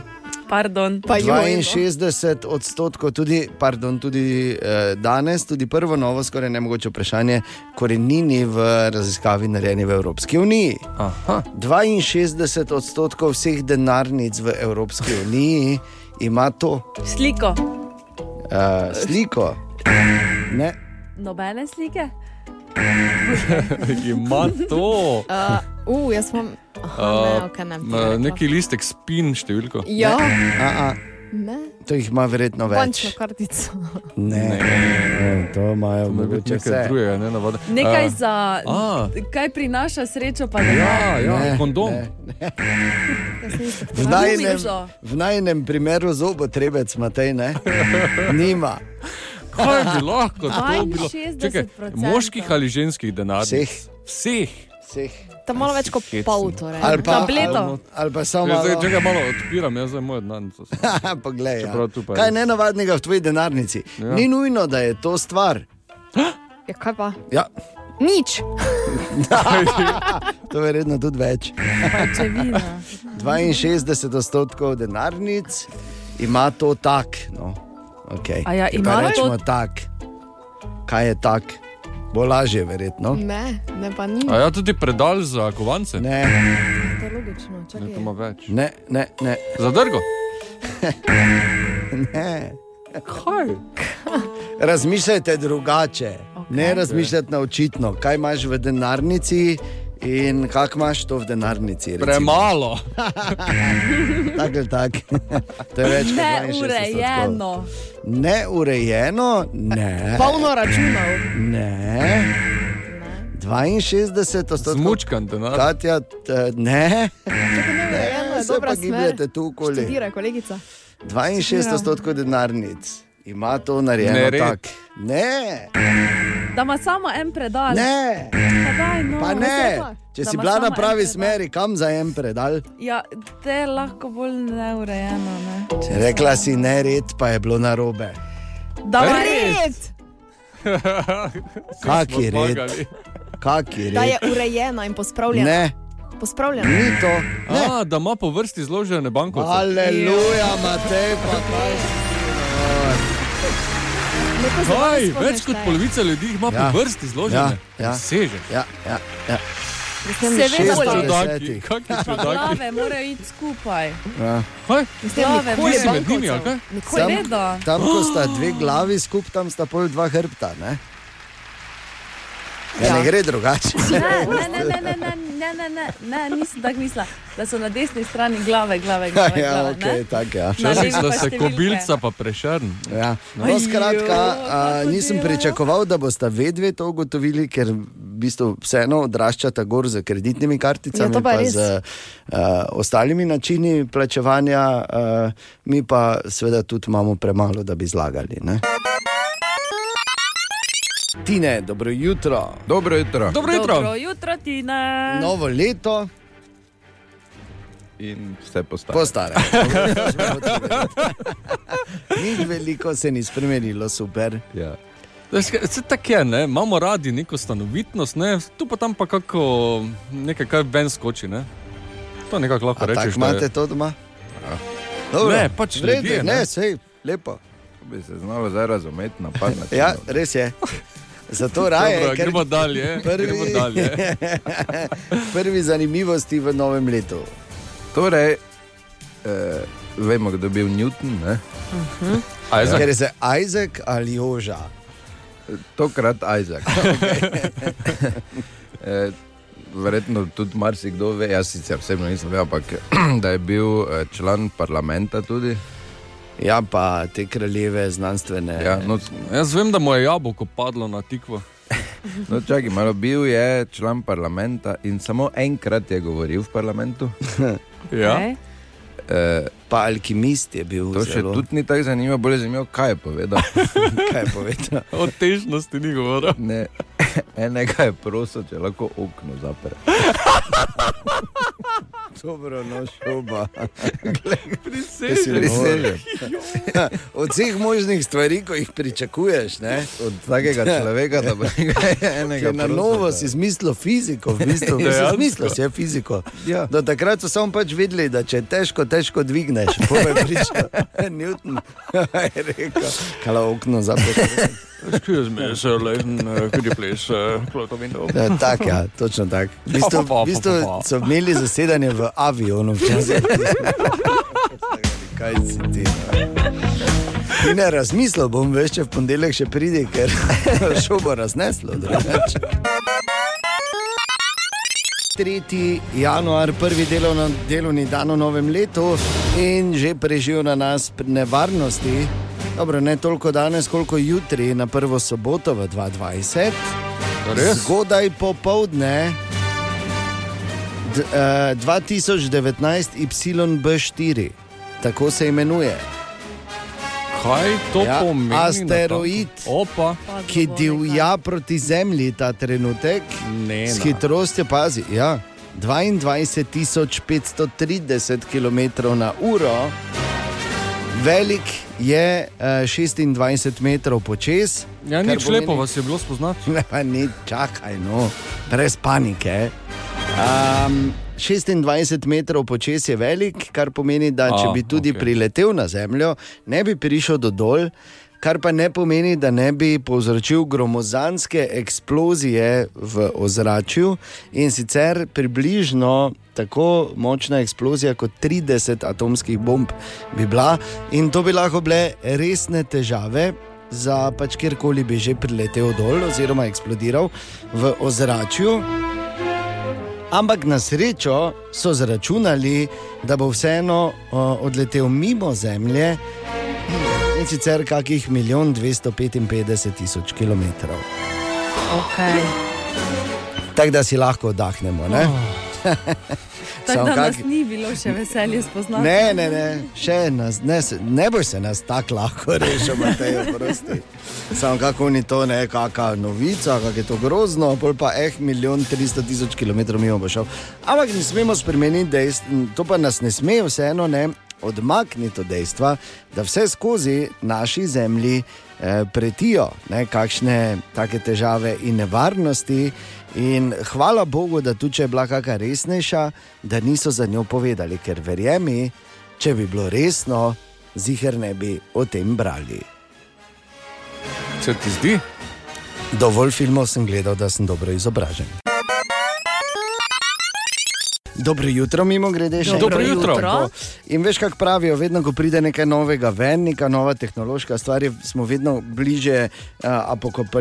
S4: Pardon.
S3: 62 odstotkov, tudi, pardon, tudi eh, danes, tudi prvo novo, skoraj ne mogoče vprašanje, korenini v raziskavi narejeni v Evropski uniji.
S10: Aha.
S3: 62 odstotkov vseh denarnic v Evropski uniji ima to
S4: Sliko.
S3: eh, sliko. Ne,
S4: Nobene slike?
S10: Ima to.
S5: Uh, uh, jaz sem.
S10: Uh,
S5: Ne, ok, ne. bi
S10: ma,
S5: rekla.
S10: neki listek spin številko.
S5: Ja. Ne.
S3: A, a,
S5: Ne.
S3: to jih ima verjetno več.
S5: Končno kartico.
S3: Ne, ne, to imajo mogoče
S10: nekaj
S3: vse.
S10: drugega, ne navadno.
S4: Nekaj za.
S10: a.
S4: Kaj prinaša srečo, pa ne.
S10: Ja, ja,
S3: Ne,
S10: kondom.
S3: V najnem, v najnem primeru zobotrebec, Matej, ne? Nima.
S10: Kaj bi lahko to bilo?
S5: 62%.
S10: Čakaj, moških ali ženskih denarnic?
S3: Vseh.
S10: Vseh.
S3: Vseh.
S5: Tam malo več kot
S10: Hecno.
S5: pol, torej.
S3: Ali pa-
S5: Tableto.
S3: ali- Ali pa samo
S10: Ja, Zdaj,
S3: malo.
S10: čakaj, malo odpiram, jaz zdaj moje denarnice.
S3: Poglej, ja.
S10: Čeprav tu pa
S3: Kaj je
S10: je-
S3: nenavadnega v tvoji denarnici?
S10: Ja.
S3: Ni nujno, da je to stvar.
S5: Ja, kaj pa?
S3: Ja.
S5: Nič.
S3: to je verjetno tudi več.
S4: Če vina.
S3: 62 odstotkov denarnic ima to tak. No. Okay.
S4: A ja,
S3: Ker
S4: ima
S3: kaj
S4: to-
S3: rečemo tak? Kaj je tak? Bo lažje, verjetno.
S5: Ne, ne pa nič.
S10: A ja, tudi predal za kovance?
S3: Ne.
S5: To je logično. Čakaj.
S10: Ne, to ima več.
S3: Ne, ne, ne.
S10: Zadrgo.
S3: ne.
S10: Kaj?
S3: Razmišljajte drugače, okay. ne razmišljati na očitno, kaj imaš v denarnici in kako imaš to v denarnici. Recimo.
S10: Premalo.
S3: Tako ali tako. to je več kot 62 odstotkov.
S4: Neurejeno.
S3: Neurejeno, ne.
S5: Polno računov.
S3: Ne. 62 odstotkov.
S10: Zmučkan
S1: no.
S10: denar.
S3: Katja, t- ne.
S5: Neurejeno je
S3: se
S5: dobra
S3: pa
S5: smer.
S3: gibljete tu okoli.
S5: Študira, kolegica.
S3: 62 odstotkov denarnic ima to narejeno
S10: Nered.
S3: tako. Ne.
S4: Da ima samo en predal.
S3: Ne.
S4: Pa, daj, no.
S3: Pa ne, če
S4: Da
S3: si
S4: ima
S3: bila
S4: samo
S3: na
S4: en
S3: pravi
S4: predal.
S3: smeri, kam za en predal?
S4: Ja, te je lahko bolj neurejeno. Ne?
S3: Če rekla si ne red, pa je bilo na robe.
S4: Da, ima
S5: Red!
S3: Kak je red? Kak je
S5: Da je
S3: red?
S5: urejena in pospravljena.
S3: Ne,
S5: Pospravljena.
S3: ni to.
S10: A, da ima po vrsti zložene bankovce.
S3: Aleluja, Matej, pa kaj.
S5: Neko se
S10: Kaj,
S5: danes spomniš,
S10: več kot
S5: da je.
S10: polovica ljudi jih ima
S3: Ja.
S10: po vrsti zložene.
S3: Ja, ja.
S10: Seže.
S3: Ja, ja, ja.
S4: Seveda
S10: Šest
S4: pa-
S10: do daki. Kaki čudaki?
S4: Glave morajo iti skupaj.
S3: Ja.
S4: Glave
S10: nikoli
S4: morajo-
S10: med njimi, ali kaj?
S3: Tam,
S4: Seveda.
S3: tam, ko sta dve glavi skupaj, tam sta pol dva hrbta. Ne, ja. ne gre drugače.
S4: Ne, ne, ne, ne, ne, ne, ne, ne, ne, ne, nisem tako mislila, da so na desni strani glave, glave, glave.
S3: ja,
S4: glave ne?
S3: okay, tak, ja.
S10: Včasih sta se kobilca pa prešern.
S3: Ja. No, skratka, a, nisem pričakoval, da boste vedve to ugotovili, ker v bistvu vseeno odraščata gor z kreditnimi karticami,
S5: Ja, to pa
S3: pa
S5: res.
S3: z a, ostalimi načini plačevanja, a, mi pa seveda tudi imamo premalo, da bi zlagali. Ne? Tine, dobro jutro.
S1: Dobro jutro.
S4: Dobro jutro, Tina.
S3: Novo leto
S1: In vse postane.
S3: Postare. Ni veliko se ni spremenilo, super.
S1: Ja.
S10: Vse tako je, ne? imamo radi neko stanovitnost, ne? tu pa tam pa kako nekaj, kar ven skoči. Ne? To nekako lahko
S3: A tako
S10: rečeš. da je-
S3: imate to doma? Dobro.
S10: Ne, pač
S3: Vrede,
S10: ljudje,
S3: ne,
S10: ne.
S3: sej, lepo.
S1: To bi se znalo zdaj razumeti, napad na
S3: Ja, res je. Zato raje,
S10: Dobro,
S3: ker
S10: gremo dalje,
S3: Prvi,
S10: gremo dalje.
S3: prvi zanimivosti v novem letu.
S1: Torej, eh, vemo, kdo je bil Newton. Ne? Isaac.
S3: Ker se Isaac ali Joža.
S1: Tokrat Isaac. Eh, Verjetno tudi marsikdo ve, jaz sicer osebno nisem ve, ampak da je bil eh, član parlamenta tudi.
S3: Ja, pa te kraljeve znanstvene.
S1: Ja, no,
S10: jaz vem, da mu je jabolko padlo na tikvo.
S1: No, čakaj, malo bil je član parlamenta in samo enkrat je govoril v parlamentu.
S10: Ja.
S1: Eh,
S3: pa alkimist je bil.
S1: To No, še
S3: zelo.
S1: tudi ni tako zanimivo, bolj je zanimivo, kaj je povedal.
S3: kaj je povedal?
S10: O težnosti ni govoril.
S1: Ne, enega je prosil, če lahko okno zapre.
S3: Dobro, no, šoba.
S10: Prisežem.
S1: Prisežem.
S3: Ja, Od vseh možnih stvari, ko jih pričakuješ, ne?
S1: Od takega človeka, da bo enega
S3: Ker Ja. na
S1: prosil,
S3: novo
S1: da-
S3: si izmislil fiziko, v bistvu si
S1: Dejansko.
S3: izmislil si je fiziko.
S1: Ja.
S3: Do takrat so samo pač vedeli, da če je težko, težko dvigneš. Po me priča Newton. je rekel, Kala okno zapreš.
S10: Excuse me, sir, Leighton, uh, could you please uh, close the window?
S3: Ja, tak, ja, točno tako. V bistvu,
S10: Pa, pa, pa,
S3: v bistvu
S10: pa, pa.
S3: so imeli zasedanje v avionu včasih. Kaj si ti? no? In ne razmislil bom, veš, če v ponedeljek še pride, ker šel bo razneslo. drugače. 3. januar, prvi delovno, delovni dan v novem letu in že prežijo na nas pri nevarnosti. Dobro, ne toliko danes, koliko jutri, na prvo soboto v 2020.
S10: Res?
S3: Zgodaj popovdne d, eh, 2019 YB4, tako se imenuje.
S10: Kaj to
S3: Ja,
S10: pomeni? na
S3: asteroid.
S10: tako- Opa.
S3: Ki divja proti Zemlji ta trenutek,
S10: Ne,
S3: s
S10: ne.
S3: hitrostjo pazi. Ja. 22.530 km na uro, velik je eh, 26 metrov počes.
S10: Ja,
S3: kar
S10: nič
S3: pomeni-
S10: lepo vas je bilo spoznati.
S3: Ne, pa ni, čakaj, no, brez panike. Um, 26 metrov počes je velik, kar pomeni, da če
S10: A,
S3: bi tudi
S10: okej.
S3: okay. priletel na zemljo, ne bi prišel do dol, kar pa ne pomeni, da ne bi povzročil gromozanske eksplozije v ozračju in sicer približno. Tako močna eksplozija kot 30 atomskih bomb bi bila, in to bi lahko bile resne težave, za pač kjerkoli bi že priletel dol oziroma eksplodiral v ozračju. Ampak na srečo so zračunali, da bo vseeno o, odletel mimo Zemlje in sicer kakih 1 255 tisoč km.
S4: Okay.
S3: Tako da si lahko oddahnemo. Ne,
S4: Oh. Tako da nas
S3: kaki-
S4: ni bilo še veselje spoznati.
S3: ne, ne, ne, še nas, ne, se- ne boš se nas tako lahko rešil, Matej, prosti. Samo kako ni to nekakšna novica, kako je to grozno, pol pa eh, milijon 300 tisoč km mimo bo šel. Ampak ne smemo spremeniti dejstva, to pa nas ne sme vseeno ne odmakniti od dejstva, da vse skozi naši zemlji eh, pretijo ne, kakšne take težave in nevarnosti. In hvala Bogu, da tu če je bila kakšna resnejša, da niso za njo povedali, ker verjemi, če bi bilo resno, zihar ne bi o tem brali.
S10: Se ti zdi?
S3: Dovolj filmov sem gledal, da sem dobro izobražen. Dobro jutro, mimo grede še.
S10: Dobro
S3: enkrat.
S10: jutro.
S3: Tako. In veš, kako pravijo, vedno, ko pride nekaj novega ven, neka nova tehnološka stvar, je- smo vedno bliže uh,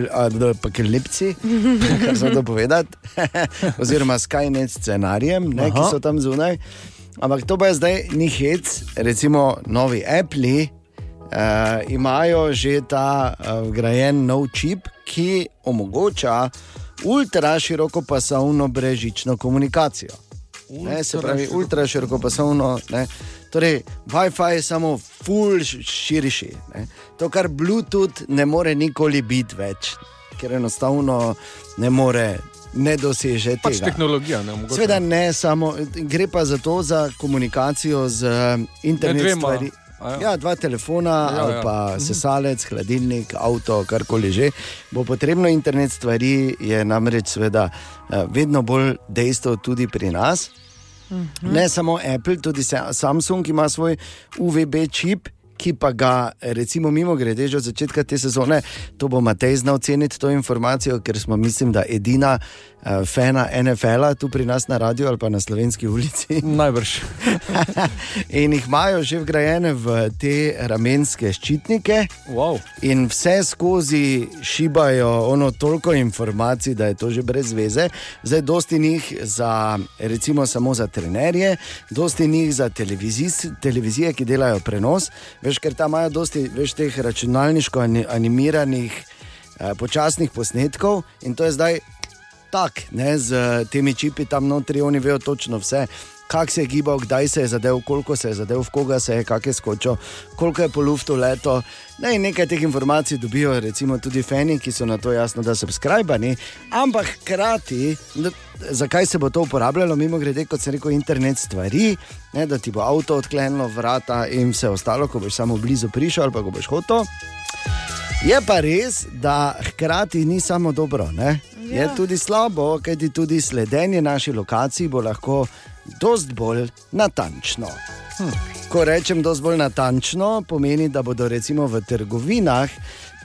S3: apokalipsi, kar se da povedati, oziroma Skynet scenarijem, ne, ki
S11: Aha.
S3: so tam zunaj. Ampak to pa je zdaj ni hec, recimo novi Apple. Uh, imajo že ta uh, vgrajen nov čip, ki omogoča ultra širokopasovno brežično komunikacijo. Ne, se pravi, ultra široko pasovno. Ne. Torej, WiFi je samo full š- širši. Ne. To, kar Bluetooth ne more nikoli biti več, ker enostavno ne more, ne doseže
S10: Pač
S3: tega.
S10: tehnologija ne omogoča.
S3: Sveda ne samo, gre pa za to, za komunikacijo z eh, internet
S10: dvema.
S3: stvari.
S10: A ja.
S3: Ja, dva telefona,
S10: Ja,
S3: ja, ali
S10: ja.
S3: pa
S10: Mhm.
S3: sesalec, hladilnik, avto, karkoli že. Bo potrebno internet stvari, je namreč seveda, eh, vedno bolj dejstvo tudi pri nas. Ne samo Apple, tudi se- Samsung ima svoj UVB čip. Ki pa ga, recimo, mimo grede, že od začetka te sezone, to bo Matej znal ceniti, to informacijo, ker smo, mislim, da edina uh, fena NFL-a tu pri nas na radiju ali pa na slovenski ulici.
S10: Najbrž.
S3: in jih imajo že vgrajene v te ramenske ščitnike.
S10: Wow.
S3: In vse skozi šibajo ono toliko informacij, da je to že brez veze. Zdaj, dosti njih za, recimo, samo za trenerje, dosti njih za televizij, televizije, ki delajo prenos. Veš, ker tam imajo dosti več teh računalniško ani- animiranih, eh, počasnih posnetkov in to je zdaj tak, ne, z eh, temi čipi tam notri, oni vejo točno vse. Kak se je gibal, kdaj se je zadev, koliko se je zadev, v koga se je, kak je skočil, koliko je polufto leto. Ne, in nekaj teh informacij dobijo, recimo tudi fani, ki so na to jasno, da so subskrbani. Ampak hkrati, n- zakaj se bo to uporabljalo, mimo grede, kot sem rekel, internet stvari, ne, da ti bo avto odklenilo vrata in vse ostalo, ko boš samo blizu prišel ali pa ko boš hotel. Je pa res, da hkrati ni samo dobro. Ja. Je tudi slabo, kajti tudi sledenje naši lokaciji bo lahko dosti bolj natančno. Hm. Ko rečem dosti bolj natančno, pomeni, da bodo recimo v trgovinah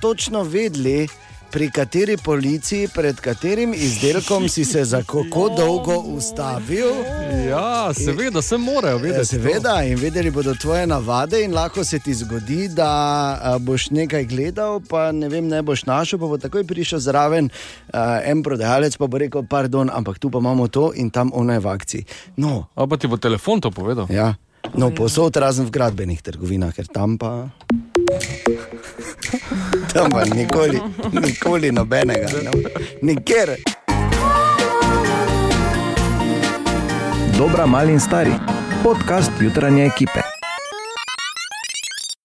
S3: točno vedeli, pri kateri policiji, pred katerim izdelkom si se za kako dolgo ustavil.
S10: Ja, seveda, se morajo
S3: Ja,
S10: vedeti.
S3: Seveda, in vedeli bodo tvoje navade, in lahko se ti zgodi, da a, boš nekaj gledal, pa ne, vem, ne boš našel, pa bo takoj prišel zraven a, en prodajalec, pa bo rekel: Pardon, ampak tu pa imamo to in tam ono je v akciji. No,
S10: A pa ti bo telefon to povedal?
S3: ja. no posod razen v gradbenih trgovinah, ker tam pa. Tam pa nikoli, nikoli nobenega, no. nikjer.
S14: Dobra, mali in stari. Podcast jutranje ekipe.